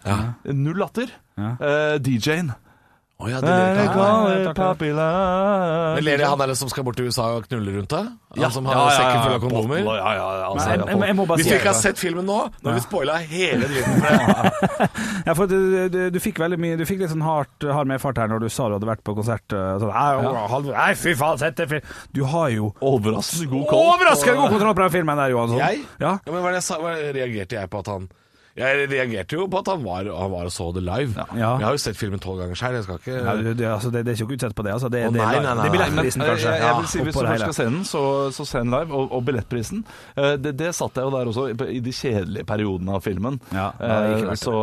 E: null latter, eh, DJ-en.
C: Å ja, de ler
E: Eh,
C: ikke. Men
E: Men
C: ler de han der som skal bort til USA og knulle rundt deg? Han som har
E: ja, ja,
C: sekken
E: ja,
C: full av kondomer?
E: bottle, Ja, ja, ja, altså,
D: Men
E: ja,
D: jeg, jeg, jeg må bare
C: Hvis
D: si
C: du ikke har sett filmen nå, nå har vi spoila hele dritten. for deg.
D: ja, for du, du, du fikk veldig mye Du fikk litt sånn hardt, hard medfart her når du sa du hadde vært på konsert. eh, Sånn, «Nei, å, halv- Nei, fy faen, sett det! fy-» Du har jo
E: Overraskende god koll.
D: overraskende god kontroll på den filmen der, Johansson.
C: Jeg?
D: Ja.
C: Ja, men hva, er det jeg sa, hva reagerte jeg på at han Jeg reagerte jo på at han var, han var og så det live.
D: Ja.
C: Jeg har jo sett filmen tolv ganger sjøl, jeg skal ikke
D: Ja, du- det, altså, det, det er ikke utsett på det, altså. Det,
C: Å,
D: det,
C: nei,
D: er-
C: nei, nei,
D: det blir
C: nei.
D: lettprisen,
E: Men, eh,
D: kanskje.
E: Jeg, jeg vil si,
D: Ja, oppå
E: hvis du
D: det
E: først
D: hele.
E: skal se den, så, så se den live. Og, og billettprisen. Eh, Det, det satt jeg jo der også, i- i de kjedelige periodene av filmen.
D: Ja, det er ikke
E: Eh,
D: verdt det.
E: så,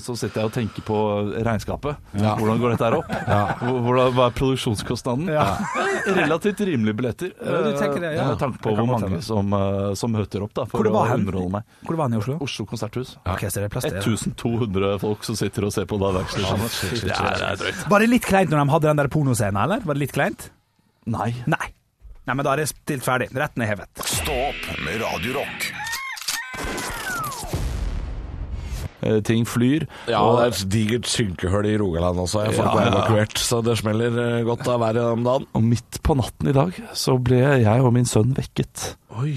E: så sitter jeg og tenker på regnskapet. Hvordan går dette her opp? Hvor- Hvordan, hva er produksjonskostnaden?
D: Ja.
E: [LAUGHS] Relativt rimelige billetter,
D: Ja, du tenker det,
E: eh,
D: ja.
E: med tanke på
D: Det kan
E: hvor
D: godt hende.
E: mange som, eh, som møter opp da, for
D: Hvor var
E: å
D: hen?
E: underholde meg.
D: Hvor var han i Oslo?
E: Oslo konserthus.
D: Ok, så det er plass til det, da.
E: 1200 folk som sitter og ser på Live Action. Det er det er drøyt.
D: Var det litt kleint når de hadde den der pornoscenen, eller? Var det litt kleint?
E: Nei.
D: Nei. Nei, men da er det stilt ferdig. Retten er hevet.
A: Stå opp med Radio Rock.
E: Eh, Ting flyr.
C: Ja, og det er et digert synkehull i Rogaland også. Jeg får
E: Ja,
C: ikke være
E: ja.
C: evakuert, så det smeller eh, godt av været om dagen.
E: Og midt på natten i dag så ble jeg og min sønn vekket
C: Oi.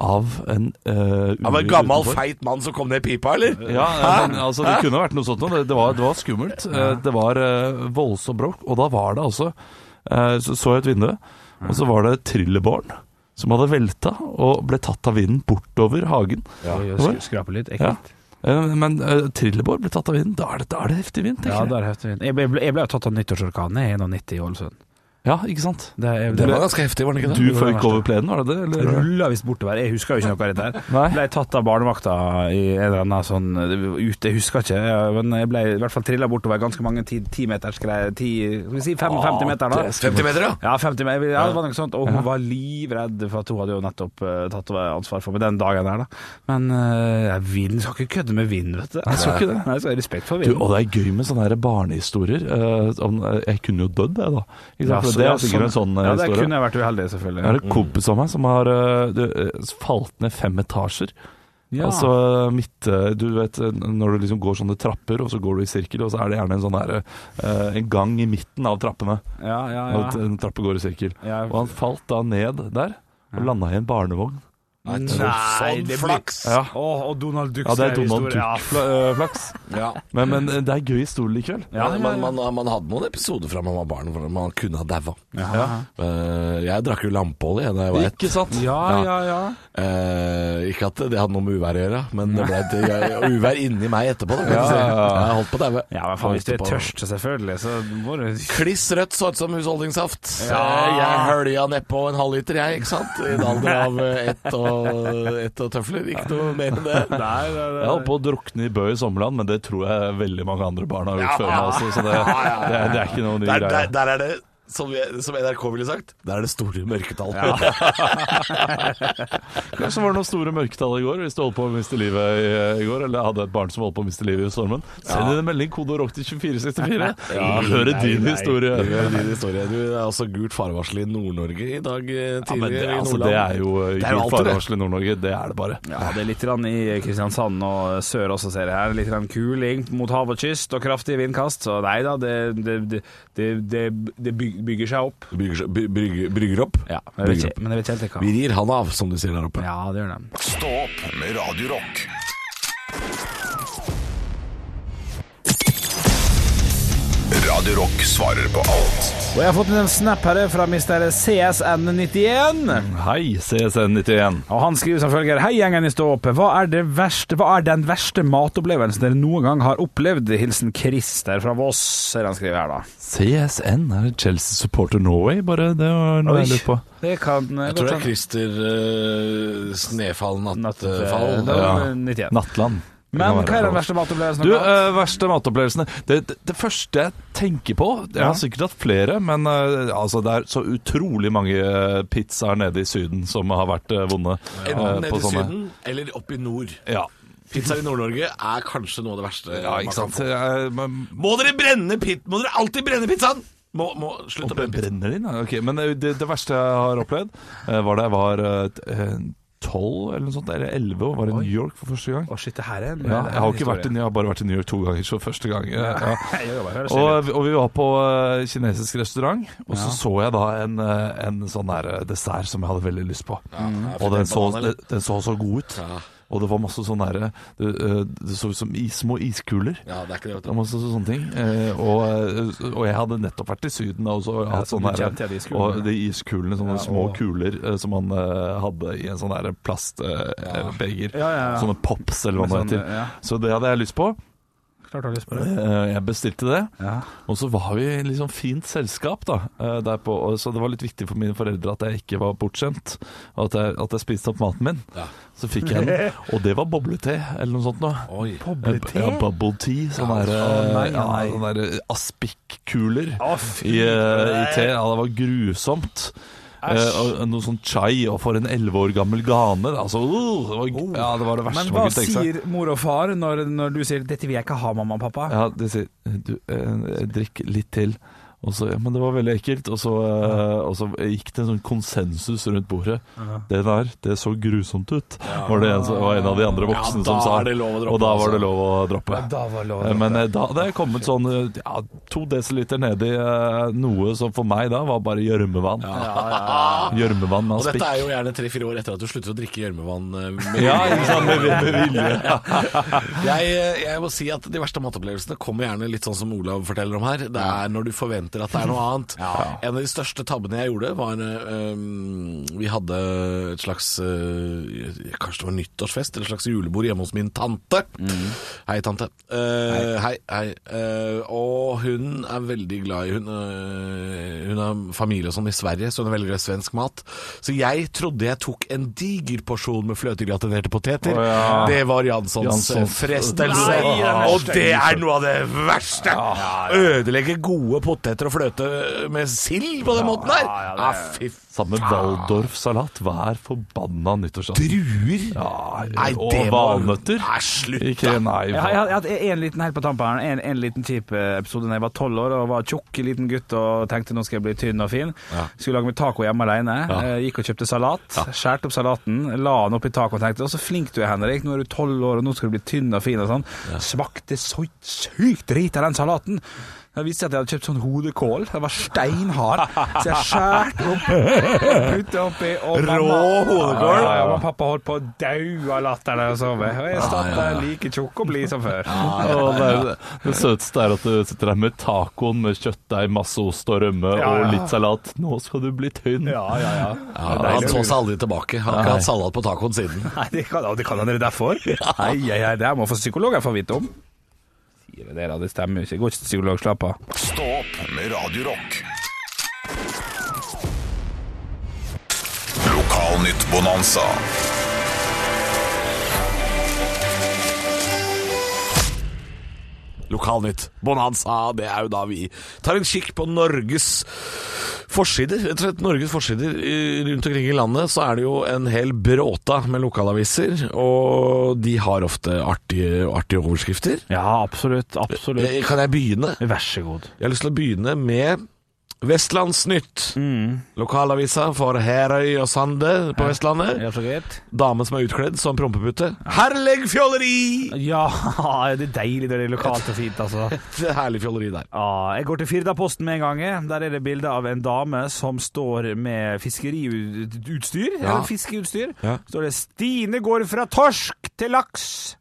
E: av en uh,
C: Av en gammel, feit mann som kom ned i pipa, eller?
E: Ja, ja, men, altså, det kunne vært noe sånt noe. Det, det, var, det var skummelt. Eh, Det var eh, voldsomt bråk. Og da var det altså eh, Så så jeg et vindu, Og så var det trillebåren som hadde velta og ble tatt av vinden bortover hagen.
D: Sk- Skrape litt, ekkelt.
E: Eh, Men eh, trillebår ble tatt av vinden. Da er det, da er det heftig vind,
D: Ja,
E: tenker jeg.
D: der hefter vi. Jeg ble, jeg ble jo tatt av nyttårsorkanen i 91 i Ålesund.
E: Ja, ikke sant?
D: Det, jeg,
C: Det var ganske heftig, var det ikke
E: Du
C: det?
D: var det
E: føyk
D: verste.
E: over plenen, var det det?
D: Det
E: Eller?
D: rulla visst bortover. Jeg husker jo ikke noe av dette. her
E: Nei.
D: Ble tatt av barnevakta i en eller annen sånn ut, Jeg husker ikke, ja, men jeg ble i hvert fall trilla bortover ganske mange ti, ti meters greier. Ti, skal vi si fem, 50 meter, da.
C: 50 meter, ja.
D: Ja, 50 meter, ja, det var noe sånt. Og hun var livredd, for at hun hadde jo nettopp eh, tatt ansvar for meg den dagen der, da. Men uh, vind skal ikke kødde med vind, vet du. Jeg
E: skal ikke det.
D: Nei, jeg skal ha respekt for
E: Du,
D: vind.
E: og det er gøy med sånne her barnehistorier. eh, om, eh, jeg kunne jo dødd, jeg, da. Ikke sant?
D: Ja,
E: For
D: så-
E: det
D: ja,
E: er sikkert en sånn eh,
D: Ja, det
E: historie.
D: kunne jeg vært uheldig, selvfølgelig.
E: Jeg har en kompis av meg som har eh, du, eh, falt ned fem etasjer. Altså midt eh, Du vet eh, når du liksom går sånne trapper, og så går du i sirkel, og så er det gjerne en sånn her eh, En gang i midten av trappene.
D: ja, ja,
E: At
D: ja.
E: en trappe går i sirkel.
D: Ja.
E: Og han falt da ned der, og landa i en barnevogn.
D: Nei, det blir
E: Ja,
D: Åh, og Donald Duck
E: ja det er
D: skrev
E: Donald
D: historie. Ja,
E: Duck-flaks.
C: Ja.
E: Men, men eh, det er gøy historie likevel.
D: Ja, ja,
C: Man, man, man hadde noen episoder fra man var barn hvor man kunne ha daua.
D: Ja.
C: Eh, jeg drakk jo lampeolje jeg, da jeg var ett.
E: Ikke sant?
D: Ja, ja, ja.
C: Eh, ikke at det hadde noe med uværet å gjøre, men det
E: [LAUGHS]
C: ble et jeg- uvær inni meg etterpå. Da, kan
E: Ja,
C: du si.
E: ja, ja.
C: Jeg holdt på å daue.
D: Ja, men faen, hvis du er
C: Holdt på-
D: tørst, så selvfølgelig, så må du
C: Kliss rødt, så ut som husholdningssaft.
D: Ja.
C: Eh, Jeg hølja nedpå en halvliter, jeg, ikke sant? I en alder av eh, ett og, ett og tøfler. Ikke noe mer enn
E: [LAUGHS]
C: det.
D: Nei, det, det.
E: Jeg holdt på å drukne i Bø i Sommerland, men det tror jeg veldig mange andre barn har gjort før meg også, så det, det, er- det er ikke noen ny
C: Der, der,
E: greie.
C: der er det, som, vi- som NRK ville sagt, der er det store mørketall. [LAUGHS]
E: Kanskje det var noen store mørketall i går, hvis du holdt på å miste livet i, eh, i går, eller hadde et barn som holdt på å miste livet i stormen. Send inn en melding, kode rock til 2464. Ja, Høre din historie.
C: Det er din historie. Du, det er også gult farevarsel i Nord-Norge i dag eh,
E: Ja, men
C: tidlig
E: det,
C: i
E: altså,
C: Nordland.
E: det er jo eh,
C: Det er jo
E: gult
C: alltid det.
E: farevarsel i Nord-Norge, det er det bare.
D: Ja, det er litt grann i Kristiansand og sør også, ser jeg her. Litt grann kuling mot hav og kyst og kraftig vindkast. Så nei da, det, det, det, det, det, det byg- bygger seg opp.
C: Brygger, by- brygger, brygger opp.
D: Ja, men jeg vet ikke, men jeg vet ikke helt hva.
C: Vi rir han av, som de sier der oppe.
D: Ja, det gjør det.
A: Stå opp med Radio Rock. Radio Rock svarer på alt.
D: Og jeg har fått en snap her fra Mr. CSN91.
E: Hei, CSN91.
D: Og han skriver som følger Hei gjengen i Stå opp. Hva er, det verste, hva er den verste matopplevelsen dere noen gang har opplevd? Hilsen Christer fra Voss, ser han skriver her da.
E: CSN er Chelsea Supporter Norway, bare det var noe jeg
D: Oi.
E: lurte på.
D: Det kan
C: Jeg tror det er Christer eh, Snefall Eh, Nattfall.
D: Nattfall.
E: Ja.
D: 91.
E: Nattland.
D: Men
E: Det
D: hva
E: kan
D: er
E: være.
D: den verste matopplevelsen?
E: Du,
D: dere har hatt?
E: eh, verste matopplevelsene det, det, det første jeg tenker på Jeg
D: Ja.
E: har sikkert hatt flere, men eh, altså, det er så utrolig mange eh, pizzaer nede i Syden som har vært eh, vonde. eh,
C: Enten
E: på
C: nede i
E: sånne.
C: Syden eller oppe i nord.
E: Ja,
C: Pizza i Nord-Norge er kanskje noe av det verste
E: ja
C: man
E: ikke
C: kan
E: sant.
C: få.
E: Jeg, men,
C: Må dere brenne pit, Må dere alltid brenne pizzaen? Må, må, slutt å brenne pizzaen.
E: brenner din, ja. Ok, men eh, det, det verste jeg har opplevd, eh, var da jeg var eh, tolv eller noe sånt, eller elleve, og var i New York for første gang.
D: Å, shit, det her er en
E: Ja,
D: det her er
E: jeg har
D: en
E: ikke vært i,
D: historie.
E: jeg har bare vært i New York to ganger, så første gang. eh, Ja.
D: Jeg jobber, høres
E: Og,
D: det
E: og vi var på eh, kinesisk restaurant, og så så jeg da en, eh, en sånn der eh, dessert som jeg hadde veldig lyst på. og den så,
C: banan, eller?
E: den, den så så god ut. Og det var masse sånn derre det, eh, det så ut som is, små iskuler.
C: Ja, det er ikke det,
E: Det var masse sånne ting. Eh, og, eh, og jeg hadde nettopp vært i Syden da, og så
D: Ja,
E: hatt
D: så
E: sånne
D: du
E: der-
D: kjente de iskulene.
E: og de iskulene, sånne
D: Ja,
E: små
D: og-
E: kuler eh, som man eh, hadde i en sånn der plastbeger.
D: Ja, ja, ja.
E: Sånne pops, eller hva det
D: Med sånn,
E: heter.
D: ja.
E: Så det hadde jeg lyst på.
D: Klart du har lyst på det.
E: Eh, Jeg bestilte det.
D: Ja.
E: Og så var vi i liksom fint selskap da, eh, derpå, og så det var litt viktig for mine foreldre at jeg ikke var bortskjemt, og at jeg, at jeg spiste opp maten min.
C: Ja.
E: Så fikk jeg den,
D: [LAUGHS]
E: og det var boblete eller noe sånt nå.
C: Oi.
E: Boblete? Ja, bubble tea, sånn der,
D: nei, nei,
E: ja,
D: nei.
E: sånn der aspikkuler
D: Å, fy.
E: i, eh, i te. Ja, det var grusomt. Eh, og noe sånn chai, og for en 11 år gammel gane. Altså, uh, det, var, ja, det var det verste
D: Oh. Men hva
E: man kunne tenke seg.
D: sier mor og far når, når du sier 'dette vil jeg ikke ha, mamma og pappa'?
E: Ja, de sier du, eh, drikk litt til. Og så, ja, men det var veldig ekkelt. Og så, eh, og så gikk det en sånn konsensus rundt bordet. Det der, det så grusomt ut, var det en, som- var en av de andre
C: Ja,
E: voksne
C: da
E: som sa.
C: er det lov å droppe,
E: og da var
C: altså.
E: det lov å droppe.
D: var lov
E: Eh, Men eh, da hadde jeg kommet sånn eh, ja, to desiliter nedi eh, noe som for meg da var bare gjørmevann. [LAUGHS] Gjørmevann med
C: Og
E: aspik.
C: dette er jo gjerne tre-fire år etter at du slutter å drikke gjørmevann. eh, med-
E: Ja, ikke sant? Med, med
C: [LAUGHS]
E: vilje. [LAUGHS]
C: Jeg, eh, jeg må si at de verste matopplevelsene kommer gjerne litt sånn som Olav forteller om her. Det er når du forventer forventer at det er noe annet. En av de største tabbene jeg gjorde, var eh, um, Vi hadde et slags eh, Kanskje det var nyttårsfest, eller et slags julebord hjemme hos min tante. Hei, tante. Eh, hei. hei. Eh, og hun er veldig glad i Hun, eh, hun har familie og sånn i Sverige, så hun er veldig glad i svensk mat. Så jeg trodde jeg tok en diger porsjon med fløtegratinerte poteter.
E: Å, ja.
C: Det var Janssons,
E: Janssons.
C: frestelse.
E: Nei, den er
C: og det er noe av det verste! Ødelegge gode poteter og fløte med sild på den måten der! Ja, fy f...
E: Sammen med Waldorf-salat hver forbanna nyttårsaften.
C: Druer? Nei,
E: og
C: det må-
E: valnøtter.
C: Nei, slutt,
E: Ikke
C: da.
E: nei.
D: Jeg har, jeg har hatt en liten helt på tampen her, en, en liten kjip eh, episode da jeg var tolv år og var tjukk liten gutt og tenkte nå skal jeg bli tynn og fin. Skulle lage meg taco hjemme alene. Eh, Gikk og kjøpte salat. Skjærte opp salaten, la den oppi tacoen og tenkte å så flink du er, Henrik. Nå er du tolv år og nå skal du bli tynn og fin og sånn. Smakte så sykt drit av den salaten. Jeg viste at jeg hadde kjøpt sånn hodekål. Den var steinhard. Så jeg skjærte opp, putta oppi og
C: Rå hodekål?
D: Ja, ja, ja, men pappa holdt på å dø av latter da jeg sov. Og jeg satt der like tjukk og blid som før.
E: Og det, er, det søteste er at du sitter der med tacoen med kjøttdeig, masse ost og rømme
D: Ja, ja.
E: og litt salat. Nå skal du bli tynn.
D: Ja, ja, ja.
C: Ja, han så seg aldri tilbake. Han har ikke hatt salat på tacoen siden.
D: Nei, det kan, det kan han dere derfor. Nei, nei, nei, det her må få psykologer få vite om. Sier dere, det stemmer jo ikke. Går ikke til psykolog, slapp av.
A: Stå opp med Radio Rock. Lokalnytt Bonanza.
C: Lokalnytt. Bonanza. Det er jo da vi tar en kikk på Norges forsider. Rett og slett Norges forsider i- rundt omkring i landet, så er det jo en hel bråta med lokalaviser. Og de har ofte artige, artige overskrifter.
D: Ja, absolutt. Absolutt.
C: Eh, Kan jeg begynne?
D: Vær så god.
C: Jeg har lyst til å begynne med Vestlandsnytt. Lokalavisa for Herøy og Sande på Vestlandet.
D: Mm. Ja, så greit.
C: Dame som er utkledd som prompepute. Herleg fjolleri!
D: Ja, [LAUGHS] det er deilig når det er lokalt og fint, altså.
C: Et herlig fjolleri der.
D: Ja, jeg går til Firdaposten med en gang. jeg. Der er det bilde av en dame som står med fiskeriutstyr. Eller fiskeutstyr.
C: Ja.
D: Står det 'Stine går fra torsk til laks'.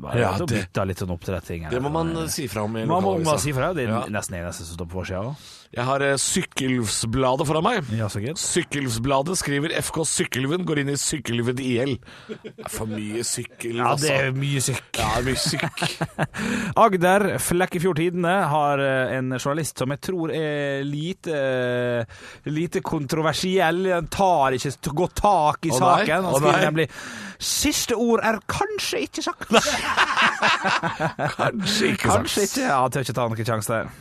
D: Bare
C: Ja,
D: ja, det...
C: det-
D: bytte litt sånn oppdretting. her.
C: Det må man eh, si fra om i
D: man må man si
C: lokalavisa.
D: fra. Det er
C: Ja.
D: nesten eneste som står på forsida òg.
C: Jeg har eh, Sykkylvsbladet foran meg.
D: Ja, så greit.
C: Sykkylvsbladet skriver FK Sykkylven går inn i Sykkylven IL. Det er for mye sykkel,
D: Ja,
C: altså.
D: det er mye syk.
C: Ja, det er mye sykk.
D: Agder, Flekkefjord Tidende, har eh, en journalist som jeg tror er lite eh, Lite kontroversiell. Han tar ikke st- godt tak i
C: Å nei,
D: saken. Han
C: å
D: skriver
C: nei.
D: nemlig 'Siste ord er kanskje ikke sagt'.
C: Kanskje ikke sant.
D: [LAUGHS] Kanskje ikke. Ja, tør ikke ta noen sjanse der.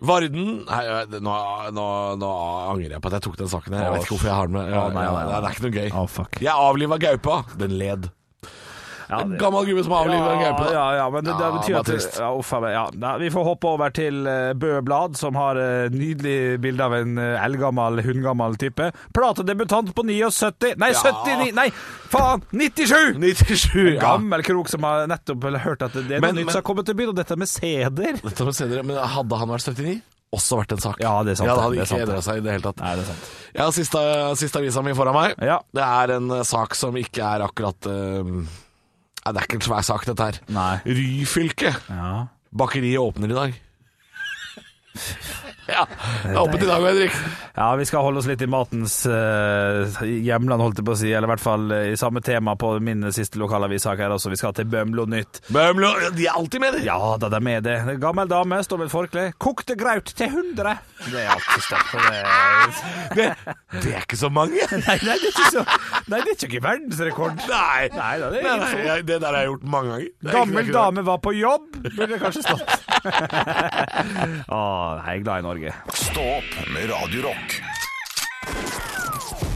C: Varden Nei, nå, nå, nå angrer jeg på at jeg tok den saken her. Jeg vet ikke hvorfor jeg har den med. Ja,
D: Å, nei, nei, nei.
C: Det er ikke noe gøy.
D: Å, fuck.
C: Jeg avliva gaupa. Den led. En gammel gubbe som avliva en gaupe. da.
D: ja, ja, men det, det
C: Ja,
D: betyr
C: bare
D: at
C: trist.
D: ja, uff, a meg, ja. Nei, Vi får hoppe over til eh, Bø Blad, som har eh, nydelig bilde av en eh, eldgammel, hundgammel type. Platedebutant på 79 Nei,
C: Ja.
D: 79! Nei, faen! 97!
C: 97, ja.
D: Gammel krok som har nettopp hørt at det er
C: Men-
D: noe nytt
C: men-
D: som har kommet til byen, og dette med sæder.
C: Dette må vi se dere, men hadde han vært 79, også vært en sak.
D: Ja, det er sant,
C: Ja, det
D: det
C: hadde
D: er
C: ikke
D: sant, det.
C: endra seg i det hele tatt.
D: Nei, det er sant.
C: Ja, siste, siste avisa mi foran meg.
D: Ja.
C: Det er en eh, sak som ikke er akkurat eh, Nei, det er ikke en svær sak, dette her.
D: Nei.
C: Ryfylke.
D: Ja.
C: Bakeriet åpner i dag. [LAUGHS] ja, det er åpent i dag, Henrik.
D: Ja, vi skal holde oss litt i matens eh, hjemland, holdt jeg på å si, eller i hvert fall eh, i samme tema på min siste lokalavissak her også. Vi skal til Bømlo Nytt.
C: Bømlo, de er alltid med, de.
D: Ja da, de er med det. En gammel dame står med et forkle. Kokte graut til 100! Det er alltid sterkt. og det er- [LAUGHS]
C: Det er ikke så mange.
D: Nei, nei, det er ikke så Nei, det er ikke verdensrekord.
C: Nei,
D: Nei da, det er
C: Nei,
D: ikke
C: nei, jeg- det der har jeg gjort mange ganger. Det er ikke- det er
D: Gammel
C: ikke
D: dame var på jobb, burde det kanskje stått. [LAUGHS] Å, jeg er glad i Norge.
A: Stå opp med Radio Rock.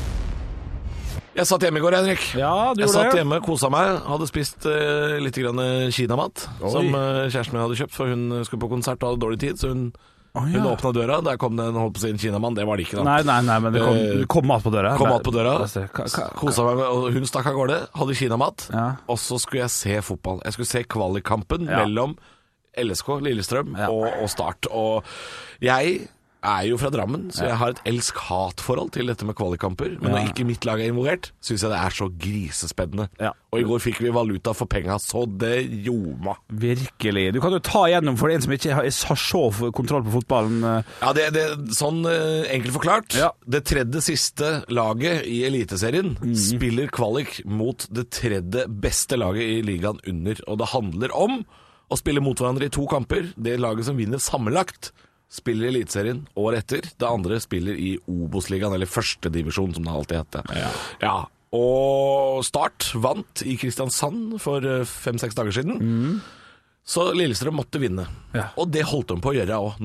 C: det. Jeg satt hjemme i går, Henrik.
D: Ja, du
C: Jeg
D: gjorde
C: satt
D: det.
C: hjemme, kosa meg, hadde spist eh, litt grann eh, kinamat som eh, kjæresten min hadde kjøpt, for hun skulle på konsert og hadde dårlig tid, så hun, hun åpna døra. Der kom det en holdt på å si en kinamann, det var det ikke da.
D: Nei, nei, nei, men det kom, det kom mat på døra.
C: Eh,
D: altså,
C: Kom mat på døra,
D: Hva- hva-
C: kosa meg, med- og hun stakk av gårde, hadde kinamat,
D: Ja.
C: og så skulle jeg se fotball. Jeg skulle se kvalikkampen
D: Ja.
C: mellom LSK, Lillestrøm
D: Ja.
C: og, og Start. Og jeg er jo fra Drammen, så jeg har et elsk-hat-forhold til dette med kvalikkamper. Men når ikke mitt lag er involvert, syns jeg det er så grisespennende.
D: Ja.
C: Og i går fikk vi valuta for penga, så det ljoma.
D: Virkelig. Du kan jo ta igjennom for en som ikke har, har så kontroll på fotballen. eh,
C: Ja, det, det, sånn eh, enkelt forklart.
D: Ja.
C: Det tredje siste laget i Eliteserien spiller kvalik mot det tredje beste laget i ligaen under. Og det handler om å spille mot hverandre i to kamper. Det laget som vinner sammenlagt, spiller i Eliteserien året etter. Det andre spiller i Obos-ligaen, eller førstedivisjon, som det alltid heter. Ja. Og Start vant i Kristiansand for eh, fem-seks dager siden. Så Lillestrøm måtte vinne.
D: Mm. Ja.
C: Og det holdt de på å gjøre òg.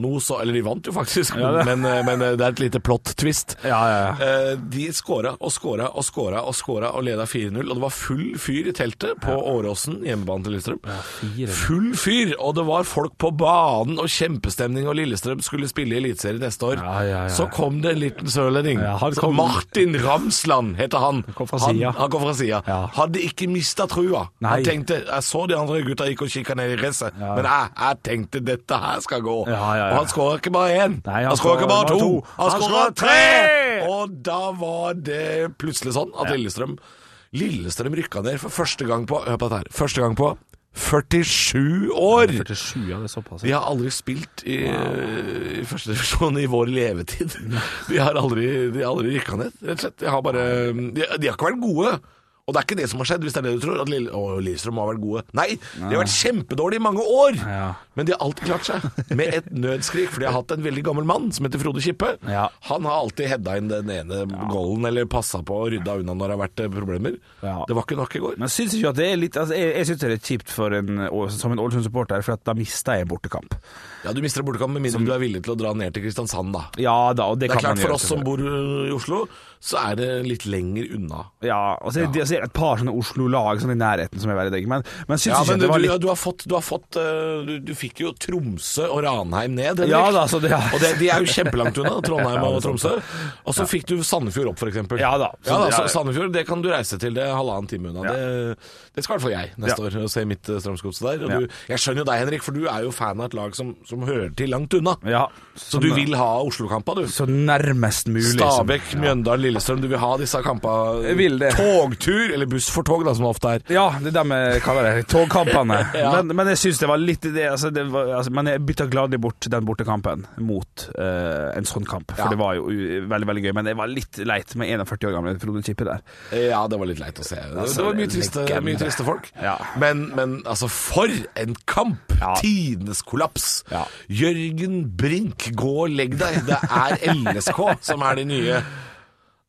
C: Eller de vant jo faktisk,
D: Ja, det-
C: men, eh, men det er et lite plott-twist.
D: Ja, ja, ja.
C: Eh, De skåra og skåra og skåra og skåra og leda 4-0. Og det var full fyr i teltet på Åråsen, hjemmebanen til Lillestrøm. full fyr! Og det var folk på banen og kjempestemning, og Lillestrøm skulle spille i Eliteserien neste år.
D: Ja, ja, ja.
C: Så kom det en liten sørlending.
D: Ja, han
C: Så
D: kom-
C: Martin Ramsland heter han.
D: kom fra
C: han,
D: sida.
C: han kom fra sida.
D: Ja.
C: Hadde ikke mista trua.
D: Nei.
C: Han tenkte Jeg så de andre gutta gikk og kikka ned i gresset, men jeg, jeg tenkte dette her skal gå.
D: Ja, ja, ja.
C: Og han skåra ikke bare én.
D: Nei,
C: han skåra ikke bare to. Han skåra
D: skåret
C: tre!
D: tre!
C: Og da var det plutselig sånn at Lillestrøm Lillestrøm rykka ned for første gang på Hør på dette her. Første gang på 47 år!
D: 47, ja, det er såpass.
C: De har aldri spilt i, i første divisjon i vår
D: [LAUGHS]
C: levetid. De har aldri, de har aldri rykka ned, rett og slett. De har, bare, de, de har ikke vært gode. Og det er ikke det som har skjedd, hvis det er det du tror. At Lille, å, Lillestrøm har vært gode. Nei, de har vært kjempedårlige i mange år!
D: Ja.
C: Men de har alltid klart seg. Med
D: [LAUGHS]
C: et nødskrik, for de har hatt en veldig gammel mann som heter Frode Kippe.
D: Ja.
C: Han har alltid hedda inn den ene goalen, eller passa på og rydda unna når det har vært eh, problemer.
D: Ja.
C: Det var ikke nok i går.
D: Men syns ikke at det er litt altså, Jeg, jeg syns det er litt kjipt for en, og- som en Ålesund-supporter, for at da mista jeg en bortekamp.
C: Ja, Du mister en bortekamp med mindre du er villig til å dra ned til Kristiansand, da.
D: Ja da, og det,
C: Det er klart
D: kan man
C: for
D: gjøre,
C: oss som bor øh, i Oslo, så er det litt lenger unna.
D: Ja, og så er det, så er det et par sånne Oslo-lag sånn i nærheten som er veldig digg, men, men syns
C: Ja,
D: ikke
C: men du,
D: at det var
C: du,
D: litt
C: du har fått, du, har fått øh, du, du fikk jo Tromsø og Ranheim ned, Henrik.
D: Ja da, så det
C: Og det, de er jo kjempelangt unna,
D: [LAUGHS]
C: Trondheim og Tromsø. Og så fikk du Sandefjord opp, f.eks.
D: Ja da.
C: Ja, da,
D: Ja,
C: så
D: ja.
C: Sandefjord det kan du reise til, det er halvannen time unna.
D: Ja.
C: Det, det skal i hvert fall jeg neste år, å se mitt øh, Strømsgodset der. Og
D: Ja.
C: du, jeg skjønner jo deg, Henrik, for du er jo fan av et lag som, som hører til langt unna.
D: ja,
C: Så du vil ha Oslo-kampa, du?
D: Så nærmest mulig. som-
C: Stabekk, Mjøndalen, Lillestrøm. Du vil ha disse kampa
D: liksom- Jeg vil det.
C: Togtur, eller buss for tog, da, som det ofte er.
D: Ja, det er dem jeg kaller det. Togkampene.
C: [LAUGHS] Ja.
D: men, men jeg syns det var litt det, altså, det var, altså, Men jeg bytta gladelig bort den bortekampen mot eh, en sånn kamp. For
C: Ja.
D: det var jo u- veldig veldig gøy. Men det var litt leit med 41 år gamle Frode Kippe der.
C: Ja, det var litt leit å se. Det,
D: Altså,
C: det var mye
D: det er
C: triste,
D: legende.
C: mye triste folk.
D: Ja.
C: Men, men altså, for en kamp!
D: Ja.
C: Tidenes kollaps.
D: Ja.
C: Jørgen Brink, gå og legg deg. Det er LSK som er de nye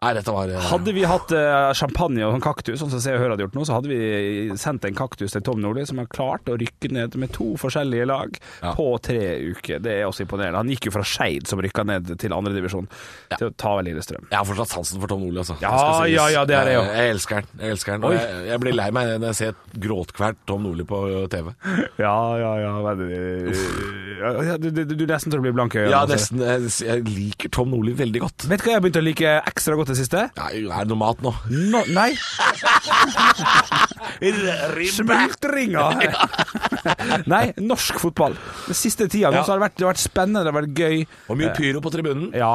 C: Nei, dette var
D: Hadde vi hatt eh, champagne og en kaktus, sånn som Se og Hør hadde gjort nå, så hadde vi sendt en kaktus til Tom Nordli, som har klart å rykke ned med to forskjellige lag
C: Ja.
D: på tre uker. Det er også imponerende. Han gikk jo fra Skeid, som rykka ned til andredivisjon,
C: Ja.
D: til å ta over Lillestrøm.
C: Jeg har fortsatt sansen for Tom Ole, altså.
D: Ja,
C: Det skal sies. Eh,
D: ja, ja, det er det jo.
C: Jeg, jeg elsker den. Jeg, elsker den. Og
D: Oi.
C: jeg, jeg blir lei meg når jeg ser et gråtkvert Tom Nordli på eh, ø, TV.
D: Ja, ja, ja, veldig- ja, ja du, du, du nesten tror du blir blank i øynene.
C: Ja,
D: altså.
C: nesten. Jeg, jeg liker Tom Nordli veldig godt.
D: Vet du hva jeg har begynt å like ekstra godt det siste?
C: Nei, er det noe mat nå?
D: No,
C: [LAUGHS]
D: nei,
C: Ribbe! [LAUGHS]
D: smultringer! [LAUGHS] nei, norsk fotball. Den siste tida nå
C: Ja.
D: så har det vært, det har vært spennende, det har vært gøy.
C: Og mye pyro på tribunen.
D: Ja,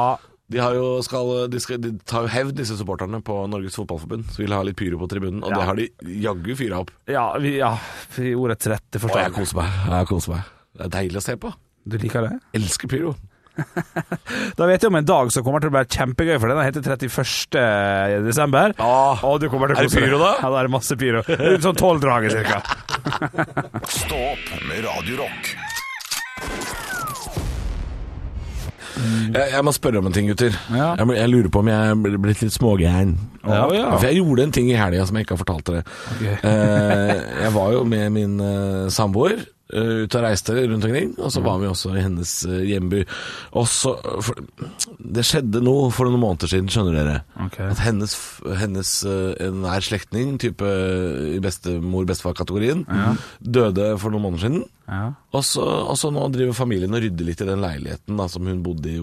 C: De, har jo skal, de, skal, de tar jo hevd, disse supporterne på Norges Fotballforbund. Så vil ha litt pyro på tribunen, og
D: Ja.
C: det har de jaggu fyra opp.
D: ja, vi, ja i ordets
C: Og
D: rette
C: jeg
D: forstand.
C: koser meg. Jeg koser meg. Det er deilig å se på.
D: Du liker det?
C: Elsker pyro.
D: Da vet jeg om en dag som kommer til å bli kjempegøy for deg. Den heter 31. desember.
C: Ja.
D: Og du kommer til å
C: Ah. Er det
D: kose deg.
C: pyro da?
D: Ja, da er det masse pyro. Rundt sånn tolv drager cirka.
C: [LAUGHS]
A: Stå opp med Radio Rock.
C: Jeg, jeg må spørre om en ting, gutter.
D: Mm. Ja.
C: Jeg, blir- jeg lurer på om jeg er bl- blitt litt smågæren.
D: Ja, ja.
C: For jeg gjorde en ting i helga som jeg ikke har fortalt dere. Eh, jeg var jo med min eh, samboer
E: Mm.
C: eh, ute og reiste rundt omkring, og så var vi også i hennes eh, hjemby. Og så for, Det skjedde noe for noen måneder siden, skjønner dere.
D: Ok.
C: At hennes, f- hennes eh, nær slektning, type eh, i bestemor-bestefar-kategorien, døde for noen måneder siden.
D: Ja.
C: Og så, og så nå driver familien og rydder litt i den leiligheten da, som hun bodde i.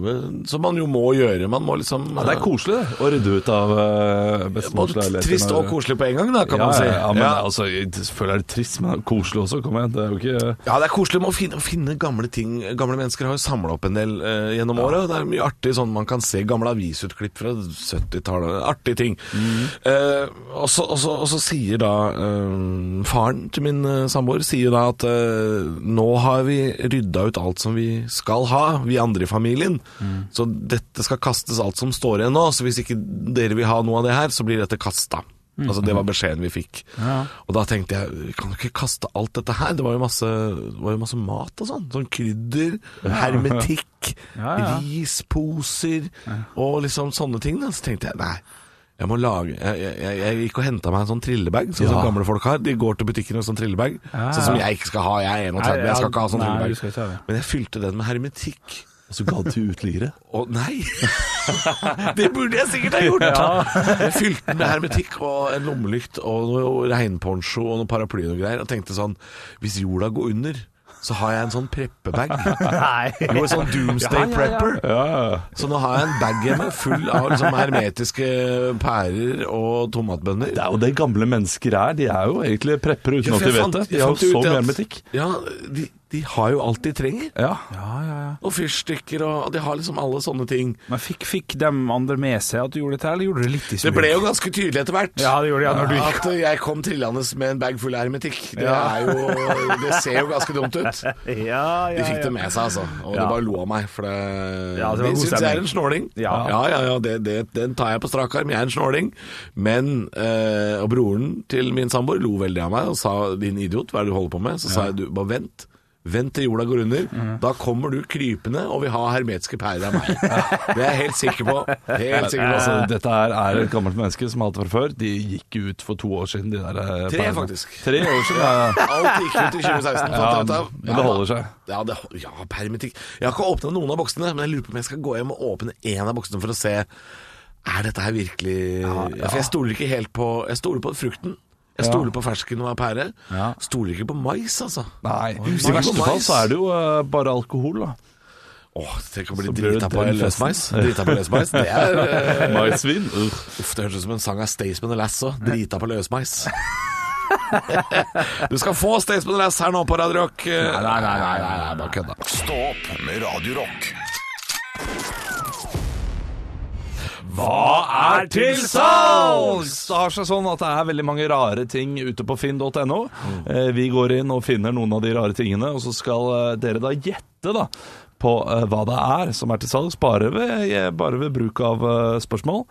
C: Som man jo må gjøre. Man må liksom
E: Ja, det er koselig det, å rydde ut av uh, bestemors
C: Både
E: leilighet.
C: trist og koselig på en gang, da, kan
E: ja,
C: man si.
E: Ja, ja, men
C: Ja.
E: altså, jeg selvfølgelig er det trist, men koselig også. Kom igjen, det er jo ikke
C: Ja, det er koselig med å finne, å finne gamle ting. Gamle mennesker har jo samla opp en del eh, gjennom året. og Det er mye artig sånn man kan se gamle avisutklipp fra 70-tallet. Artige ting. Eh, og, så, og, så, og så sier da eh, faren til min eh, samboer sier da at eh, nå har vi rydda ut alt som vi skal ha, vi andre i familien. Så dette skal kastes alt som står igjen nå. Så hvis ikke dere vil ha noe av det her, så blir dette kasta.
D: Mm.
C: Altså Det var beskjeden vi fikk. Og da tenkte jeg vi kan jo ikke kaste alt dette her. Det var jo masse, det var jo masse mat og sånn. Sånn krydder, hermetikk,
D: [LAUGHS] Ja, ja.
C: risposer og liksom sånne ting. Da. Så tenkte jeg nei. Jeg må lage Jeg, jeg, jeg- jeg gikk og henta meg en sånn trillebag, sånn som gamle folk har. De går til butikken med sånn trillebag.
D: Ja,
C: Sånn som
D: ja.
C: jeg ikke skal ha. Jeg er 31,
D: Nei,
C: jeg skal
D: ja,
C: ikke ha sånn
D: nei, du skal ikke ha
C: trillebag.
D: det.
C: Men jeg fylte den med hermetikk.
E: Og så ga det til uteliggere.
C: Å nei!
E: [LAUGHS]
C: det burde jeg sikkert ha gjort! Jeg fylte den med hermetikk og en lommelykt og noe regnponcho og noen paraply og noe greier, og tenkte sånn Hvis jorda går under, så har jeg en sånn preppebag. Jo, en sånn doomsday prepper. Så nå har jeg en bag hjemme full av liksom hermetiske pærer og tomatbønner.
E: Det er jo det gamle mennesker er. De er jo egentlig preppere uten at de vet det. De har jo så mye hermetikk.
C: Ja, de, de har jo alt de trenger.
E: Ja.
D: Ja, ja, ja.
C: Og fyrstikker og De har liksom alle sånne ting.
D: Men fikk, fikk de andre med seg at du gjorde dette, eller gjorde du det litt i
C: Det
D: smug?
C: ble jo ganske tydelig etter hvert.
D: Ja, det gjorde det, ja, når du gikk.
C: At jeg kom trillende med en bag full av hermetikk. Det,
D: Ja.
C: er jo, det ser jo ganske dumt ut.
D: Ja, ja,
C: De fikk det med seg, altså. Og
D: Ja.
C: de bare lo av meg. For det,
D: Ja,
C: de
D: det var god
C: syns jeg
D: stemning.
C: er en snåling.
D: Ja.
C: ja, ja, ja, det, det, den tar jeg på strak arm. Jeg er en snåling. Men eh, Og broren til min samboer lo veldig av meg og sa 'din idiot, hva er det du holder på med?' Så sa jeg du, bare vent. Vent til jorda går under.
D: Mhm.
C: Da kommer du krypende og vil ha hermetiske pærer
D: [LAUGHS]
C: av meg. Det er jeg helt sikker på. Helt sikker på.
E: Altså, dette her er et gammelt menneske som har hatt det fra før. De gikk ut for to år siden, de der eh,
C: Tre,
E: pærene.
C: faktisk.
E: Tre år siden, ja, ja.
C: Alt gikk ut i 2016. fant jeg ut
E: ja.
C: av.
E: Men det holder seg.
C: Ja, det, ja, permittikk. Jeg har ikke åpna noen av boksene, men jeg lurer på om jeg skal gå hjem og åpne én av boksene for å se Er dette her virkelig For jeg stoler ikke helt på Jeg stoler på frukten. Jeg stoler på fersken og pære. Stoler ikke på mais, altså.
E: Nei.
C: Usikker på
E: I verste fall
C: mais.
E: så er det jo eh, bare alkohol, da.
C: Åh, tenk å bli
E: Så blir
C: drita
E: det
C: på
E: den
C: løsmeis. Drita på løsmeis, det [LAUGHS] er eh,
E: [LAUGHS] Maisvin. Ugh.
C: Uff, det høres ut som en sang av Staysman og Lass òg. Drita på løsmeis. [LAUGHS] Du skal få Staysman og Lass her nå på Radio Rock. Nei, nei, nei, nei, nei, nei bare kødda.
A: Stå opp med Radio Rock.
E: Hva er til salgs? Det har seg sånn at det er veldig mange rare ting ute på finn.no. Eh, Vi går inn og finner noen av de rare tingene, og så skal eh, dere da gjette da på eh, hva det er som er til salgs, bare ved, eh, bare ved bruk av eh, spørsmål.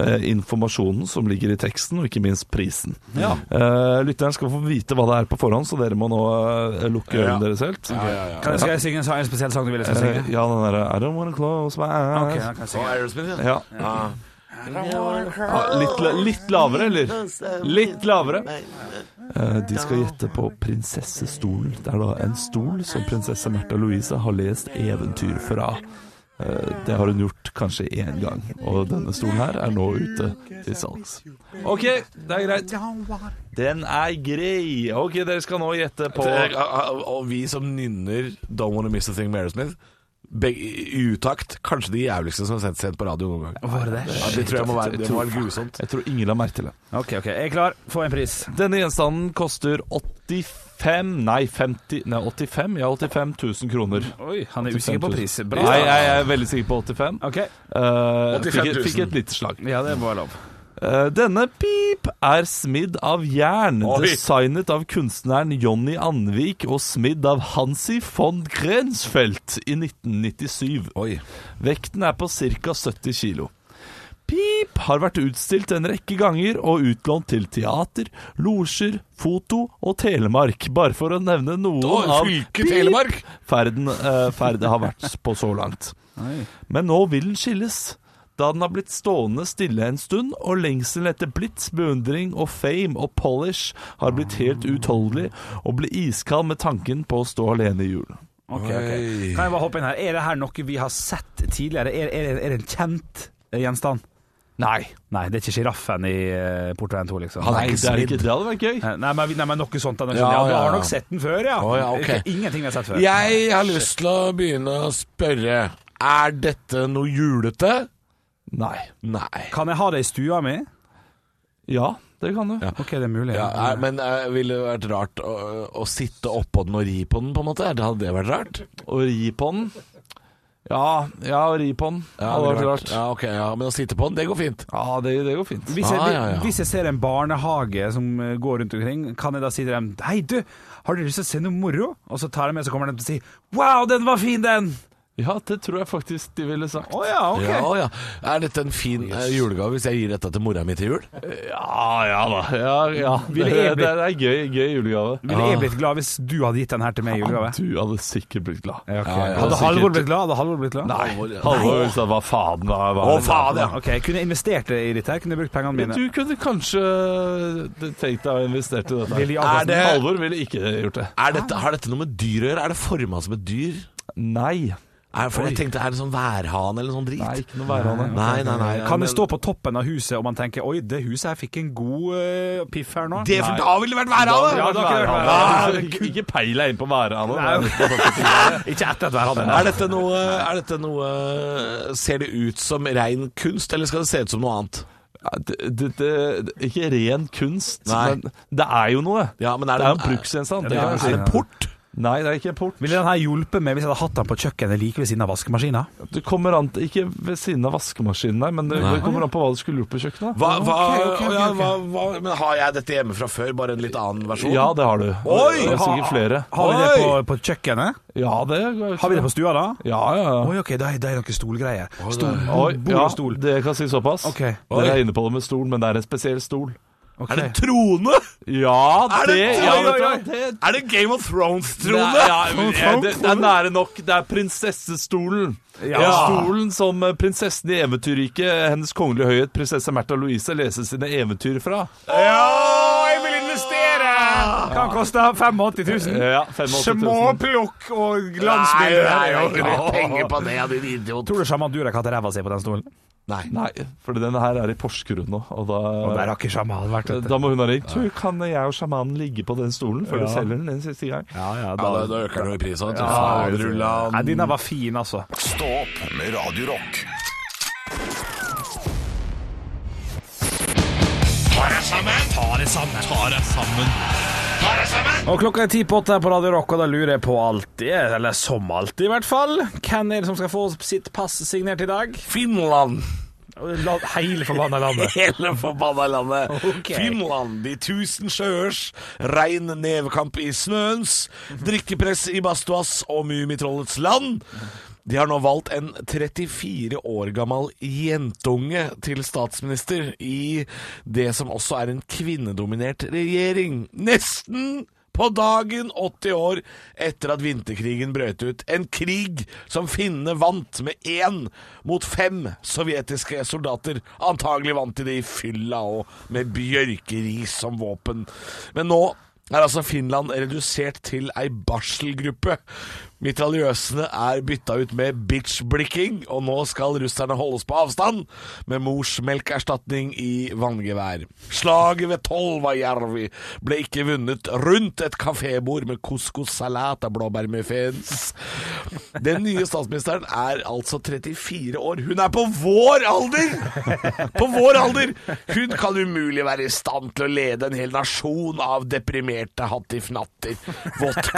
E: eh, Informasjonen som ligger i teksten, og ikke minst prisen. Eh, Lytteren skal få vite hva det er på forhånd, så dere må nå eh, lukke
C: Ja.
E: ørene deres helt.
D: Kan jeg, skal jeg synge en, sang- en spesiell sang du ville jeg skulle
E: Eh,
D: synge?
E: Ja, den derre I don't wanna close my eyes.
D: Ok, da kan jeg synge.
C: Og Aerosmith, ja.
E: Ja. Ja, litt, la- litt lavere, eller? Litt lavere. Eh, De skal gjette på prinsessestolen. Det er da en stol som prinsesse Märtha Louise har lest eventyr fra. Eh, Det har hun gjort kanskje én gang, og denne stolen her er nå ute til salgs. OK, det er greit. Den er grei. OK, dere skal nå gjette på
C: Og, og- og vi som nynner Don't Wanna Miss A Thing med Aerosmith beg- i utakt, kanskje de jævligste som er sendt sent på radio noen gang.
D: Var det det?
C: Ja, det tror jeg må være, det må være grusomt.
E: Jeg tror ingen la merke til det.
D: Ok, ok. Jeg er klar. Få en pris.
E: Denne gjenstanden koster 85 Nei, 50 Nei, 85 Ja, 85 000 kroner.
D: Oi, han er usikker på pris. Bra.
E: Nei, jeg er veldig sikker på 85.
D: Ok,
E: Eh,
C: 85
E: fikk,
C: 000.
E: fikk et lite slag.
D: ja, det må være lov.
E: Eh, denne pip er smidd av jern,
C: Oi.
E: designet av kunstneren Jonny Andvik og smidd av Hansi von Grensfeldt i 1997.
C: Oi.
E: Vekten er på ca. 70 kilo. Pip har vært utstilt en rekke ganger og utlånt til teater, losjer, foto og Telemark, bare for å nevne noen
C: Å,
E: av
C: fylket Telemark!
E: ferden eh, ferd har vært på så langt. Men nå vil den skilles. Da den har blitt stående stille en stund, og lengselen etter blitz, beundring og fame og polish har blitt helt uutholdelig, og ble iskald med tanken på å stå alene i julen.
D: Ok, ok.
C: Oi.
D: Kan jeg bare hoppe inn her? Er det her noe vi har sett tidligere? Er, er, er det en kjent eh, gjenstand?
E: Nei.
D: Nei, det er ikke sjiraffen i eh, Porto 1 2, liksom.
C: Han er
E: Nei,
C: ikke
E: det, er ikke,
C: svidd.
E: det hadde vært gøy.
D: Nei, men, vi- nei, men noe sånt. da, noe sånt.
C: Ja,
D: Ja, du
C: ja,
D: har
C: ja.
D: nok sett den før, ja.
C: Å, ja, ok.
D: Ikke- Ingenting vi har sett før.
C: Jeg har lyst til å begynne å spørre Er dette noe julete?
E: Nei.
C: Nei.
D: Kan jeg ha det i stua mi?
E: Ja, det kan du.
D: Ok, det er mulig.
C: Ja, er, men eh, ville det vært rart å, å sitte oppå den og ri på den, på en måte? Hadde det vært rart?
E: Å ri på den. Ja, ja, å ri på den.
C: Ja,
E: hadde
C: det
E: vært
C: ville
E: rart.
C: Ja, ok, ja, Men å sitte på den, det går fint.
E: Ja, det, det går fint.
D: Hvis jeg,
C: Ah, ja, ja.
D: hvis jeg ser en barnehage som eh, går rundt omkring, kan jeg da si til dem Hei, du, har dere lyst til å se noe moro? Og så tar jeg med, så kommer de til å si Wow, den var fin, den!
E: Ja, det tror jeg faktisk de ville sagt.
D: Å ja, ok.
C: Ja, ja. Er dette en fin eh, julegave hvis jeg gir dette til mora mi til jul?
E: Ja, ja da. Ja, ja. Det,
D: Ville jeg
E: det,
D: blitt-
E: er gøy, gøy julegave.
D: Ville jeg blitt glad hvis du hadde gitt den her til meg i julegave?
E: Du hadde sikkert blitt glad.
D: Ja, ok.
C: Ja, ja,
D: Hadde
E: sikkert.
D: Halvor blitt glad? Hadde Halvor blitt glad?
E: Nei. Halvor ville sagt hva faen hva, hva
C: Å, faen, ja.
D: Ok, Kunne jeg investert det i dette her? Kunne jeg brukt pengene mine?
E: Du kunne kanskje eh, tenkt deg å investere i dette.
D: Lilly
E: her.
D: Albertsen.
E: Er det... Halvor ville ikke gjort det.
C: Er dette, har dette noe med dyr å gjøre? Er det forma som et dyr?
E: Nei.
C: Er, for jeg tenkte, er det sånn værhane eller sånn drit?
E: Nei, ikke noe værhane.
C: Nei, nei, nei,
D: Kan
C: men-
D: det stå på toppen av huset og man tenker Oi, det huset her fikk en god eh, piff her nå?
C: det, for Da ville det vært værhane!
D: Ja, da kunne det vært
E: Ja,
D: værhane.
E: ikke- Ikke peil deg inn på værhane.
D: Nei. Ikke etter at hver hadde den.
C: Er dette, noe, er dette noe Ser det ut som rein kunst, eller skal det se ut som noe annet?
E: Ja, det, det, det, ikke ren kunst,
C: Nei.
E: men det er jo noe.
C: Ja, men er
E: det er jo
C: det-
E: en bruksgjenstand.
D: det
E: det
D: er
E: kan du
D: det.
E: si.
C: Er det en port?
E: Nei, det er ikke en port.
D: Ville den her hjulpet meg hvis jeg hadde hatt den på kjøkkenet like ved siden av vaskemaskina?
E: Du kommer an til, Ikke ved siden av vaskemaskinen, nei, men det,
C: Nei.
E: det kommer an på hva du skulle gjort på kjøkkenet.
C: Hva, hva,
D: ok, ok,
C: å ja,
D: ok.
C: hva, hva, men har jeg dette hjemme fra før, bare en litt annen versjon?
E: Ja, det har du.
C: Oi!
E: det er sikkert flere.
D: Har vi det
C: Oi!
D: på, på kjøkkenet?
E: Ja, det
D: Har vi det på stua da?
E: Ja, ja. ja.
D: Oi, ok, det er, det er noen stolgreier. Stol,
E: Oi,
D: bord
E: ja,
D: og stol.
E: det kan si såpass.
D: Ok.
E: Dere er inne på det med stol, men det er en spesiell stol.
D: Ok.
C: Er det en trone?
E: Ja,
C: Er det-
E: det, ja,
C: Oi, oi,
E: vet du
C: oi.
E: hva, det,
C: Er det Game of Thrones-trone?
E: Det, er- ja, eh, det, det er nære nok. Det er prinsessestolen.
D: Ja.
E: Stolen som eh, prinsessen i eventyrriket, eh, hennes kongelige høyhet, prinsesse Märtha Louise, leser sine eventyr fra.
D: Ja, jeg vil investere! Kan koste 85 000.
E: Eh,
C: Eh,
E: Ja, 85 000.
D: plukk og
C: Nei,
D: glansbilder.
C: jeg har ikke noe penger på det, din idiot.
D: Tror du sjaman Durek hadde ræva si på den stolen?
C: Nei.
E: Nei, for den her er i Porsgrunn nå, og
D: Og der
E: da
D: har ikke sjaman vært. vet du.
E: da må hun ha ringt. Du, kan eh, jeg og sjamanen ligge på den stolen før du selger den en siste gang?
D: Ja, ja,
C: Ja, da, da øker den jo i pris òg. Faderullan.
D: Nei, dine var fin, altså.
A: Stå opp med Radio Rock.
D: Og klokka er ti på åtte her på Radio Rock, og da lurer jeg på alltid, eller som alltid i hvert fall, hvem er det som skal få sitt pass signert i dag?
C: Finland!
D: La- Hele forbanna landet.
C: [LAUGHS] Hele forbanna landet.
D: Ok.
C: Finland, de tusen sjøers, rein nevekamp i snøens, drikkepress i badstuas og Mummitrollets land. De har nå valgt en 34 år gammel jentunge til statsminister i det som også er en kvinnedominert regjering. Nesten på dagen 80 år etter at vinterkrigen brøt ut. En krig som finnene vant med én mot fem sovjetiske soldater. Antagelig vant de det i fylla og med bjørkeris som våpen. Men nå er altså Finland redusert til ei barselgruppe. Mitraljøsene er bytta ut med bitch-blikking, og nå skal russerne holdes på avstand med morsmelkerstatning i vanngevær. Slaget ved Tolvajärvi ble ikke vunnet rundt et kafébord med couscous-salat og blåbærmuffins. Den nye statsministeren er altså 34 år. Hun er på vår alder! På vår alder! Hun kan umulig være i stand til å lede en hel nasjon av deprimerte hattifnatter,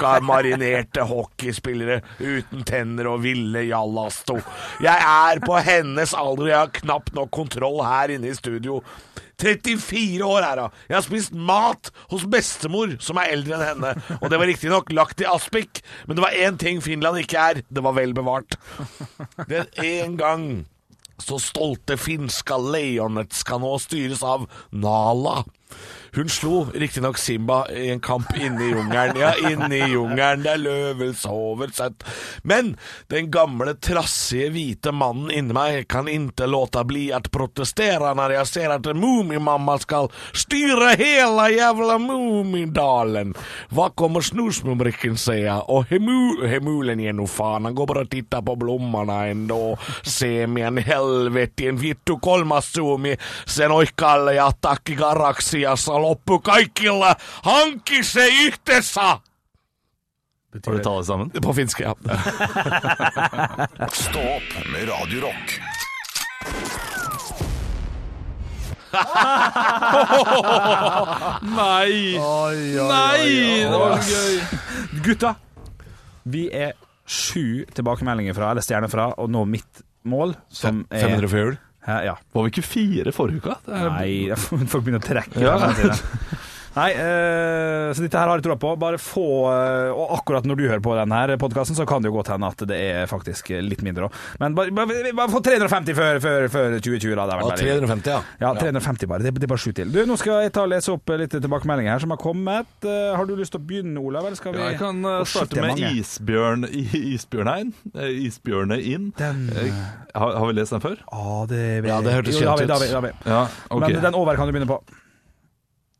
C: vodka-marinerte hockeyspillere uten tenner og ville jallasto. Jeg er på hennes alder, og jeg har knapt nok kontroll her inne i studio. 34 år er hun. Jeg har spist mat hos bestemor, som er eldre enn henne. Og det var riktignok lagt i aspik, men det var én ting Finland ikke er. Det var vel bevart. Den en gang så stolte finska lejonet skal nå styres av Nala. Hun slo riktignok Simba i en kamp inne i jungelen. Ja, inne i jungelen der løven sover søtt. Men den gamle, trassige, hvite mannen inni meg kan inte låta bli at protestere når jeg ser at Mumimamma skal styre hele jævla Mumindalen. Hva kommer snusmumrikken säga? Och hemu, hemulen ger nog fan, han går bara och tittar på blommorna ändå. Semien, helvete, en vittu kolmas suomi, sen oikalle ja takki garaksiassa loppu kaikilla hankki se yhdessä!
E: Har du talt sammen?
C: På finska, ja.
A: Stå opp med Radio Rock.
E: Nei!
F: Oi, oi,
E: Nei! Det var så gøy!
D: [LAUGHS] Gutta, vi er sju tilbakemeldinger fra, eller stjerner fra, og nå mitt mål, som er
C: 500 for jul.
D: Hæ, Ja.
E: Var vi ikke fire forrige uka? Det er-
D: Nei, [LAUGHS] folk begynner å trekke.
E: Ja.
D: hver sin side. Nei, eh, så dette her har jeg troa på. Bare få eh, Og akkurat når du hører på denne podkasten, så kan det jo godt hende at det er faktisk litt mindre òg. Men bare, bare, bare få 350 før, før, før 2020, da. Det har
C: Ja,
D: vært veldig-
C: 350, ja.
D: ja, 350 bare. Det, det er bare sju til. Du, Nå skal jeg ta og lese opp eh, litt tilbakemeldinger her som har kommet. Eh, Har du lyst til å begynne, Olav? Eller skal vi
E: Ja, jeg kan eh,
D: Å, shit,
E: starte
D: det er
E: med
D: mange.
E: isbjørn, i- isbjørnein. eh, Isbjørnein.
D: Den-
E: Eh, Har, har vi lest den før?
D: Ah, det,
C: Ja, det hørtes
D: Jo,
C: kjent
D: da har vi-
C: ut.
D: da har vi- da har vi.
E: Ja, ok.
D: Men den over kan du begynne på.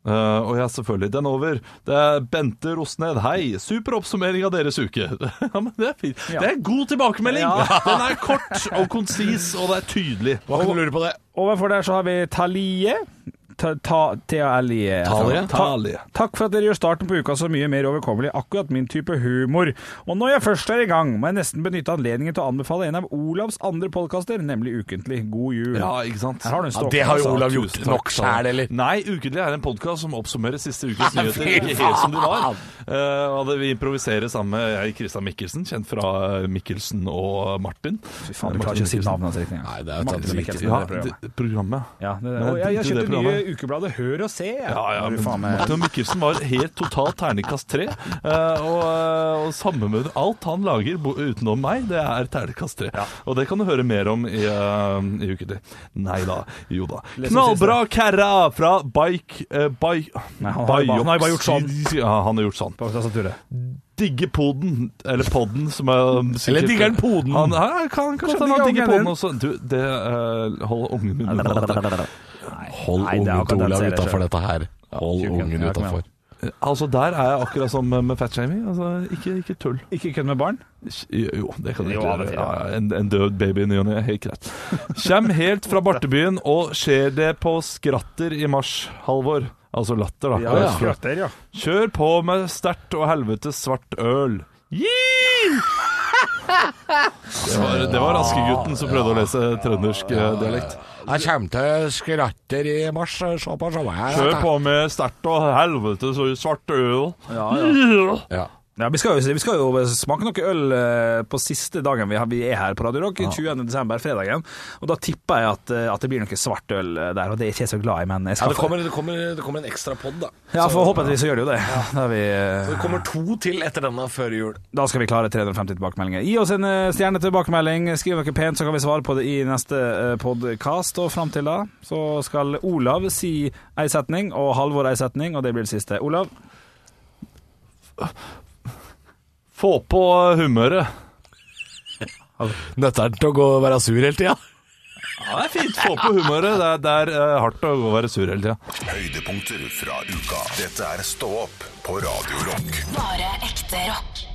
E: Eh, og ja, selvfølgelig. Den over. Det er Bente Rosned. Hei! Super oppsummering av deres uke. [LAUGHS] ja, men det er fint.
D: Ja.
E: Det er en god tilbakemelding!
D: Ja.
E: [LAUGHS] Den er kort og konsis, og det er tydelig.
C: Hva kan du lure på det?
D: Overfor der så har vi Talie. Ta- ta- T-A-L-I-E.
C: Talie?
D: Ta- Takk for at dere gjør starten på uka så mye mer overkommelig. Akkurat min type humor. Og når jeg først er i gang, må jeg nesten benytte anledningen til å anbefale en av Olavs andre podkaster, nemlig Ukentlig. God jul.
E: Ja, ikke sant?
D: Her har du en
C: Ja,
D: stokk.
C: det har jo
D: altså.
C: Olav
E: Tusen
C: gjort
E: takk,
C: nok
E: Sara.
C: sjæl, eller?
E: Nei, Ukentlig er en podkast som oppsummerer siste ukes nyheter
C: fy
E: ikke helt som de var. Eh, og det vi improviserer sammen med jeg, Christian Mikkelsen, kjent fra eh, Mikkelsen og Martin.
D: Fy faen, du klarer ikke å si navnet hans riktig engang.
C: Nei, det er jo
D: Martin
C: sant,
D: Mikkelsen,
E: Ja,
D: det programmet.
E: det, programmet.
D: Ja, det,
E: Men
D: og jeg, jeg
E: drit i det
D: kjøpte nye
E: programmet.
D: ukebladet Hør og Se. jeg.
E: Ja, ja,
D: Du
E: men
D: faen meg-
E: Martin Mikkelsen var helt totalt terningkast tre. eh, og, eh, og samme med alt han lager bo- utenom meg, det er terningkast tre. Og det kan du høre mer om i, eh, i uke til. Nei da, jo da.
D: Les om
E: Knallbra kæra fra Bike... eh, bike
D: Nei, han har jo bare- han har jo bare gjort sånn.
E: Ja, han har gjort sånn.
D: På tastaturet.
E: Digge poden, eller podden, som er um, sikkert
C: Eller digger han poden?
E: Han, ja, kan, kanskje han
D: digger
E: digger
D: han
E: poden
D: den.
E: også. Du, det eh, Hold ungen min unna dette.
C: Hold
D: Nei, det
C: ungen til
D: er
C: Olav
D: akkurat den serien
C: utafor
D: selv.
C: dette her. Hold
D: tjukken. Ja,
C: ungen
D: kom igjen.
C: utafor.
E: Altså, der er jeg akkurat som med fatshaming. Altså, ikke, ikke tull.
D: Ikke kødd med barn.
E: Jo, det kan du
D: Jo,
E: ikke
D: av og
E: gjøre.
D: til,
E: Ja,
D: ja.
E: en, en død baby i ny og ne, helt greit. Kjem helt fra Bartebyen, og skjer det på skratter i mars, Halvor. Altså latter, da. Det er skratt.
D: Skratter, ja.
E: Kjør på med sterkt og helvetes svart øl. Yee! Det var, det var Askegutten som prøvde å lese trøndersk eh, dialekt.
C: Jeg kommer til skratter i mars, såpass var jeg.
E: Kjør på med sterkt og helvetes og svart øl.
C: Ja.
D: Ja, vi, skal jo, vi skal jo smake noe øl eh, på siste dagen vi, har, vi er her på Radio Rock, 20. desember, fredagen. Og da tipper jeg at, eh, at det blir noe svart øl eh, der, og det er ikke jeg så glad i, men jeg
C: Ja,
D: skal
C: det, kommer, det, kommer, det kommer en ekstra pod, da.
D: få Ja, forhåpentligvis så gjør det jo det. Da, er vi, eh,
C: Det kommer to til etter denne før jul.
D: da skal vi klare 350 tilbakemeldinger. Gi oss en eh, stjerne tilbakemelding, skriv noe pent, så kan vi svare på det i neste podkast. Og fram til da så skal Olav si ei setning, og Halvor ei setning, og det blir det siste. Olav?
E: Få på humøret.
C: Nøtter'n til å gå og være sur hele tida.
E: Ja, det er fint. Få på humøret. Det er, det er eh, hardt å være sur hele tida.
A: Høydepunkter fra uka. Dette er Stå opp på Radio Rock.
B: Bare ekte rock.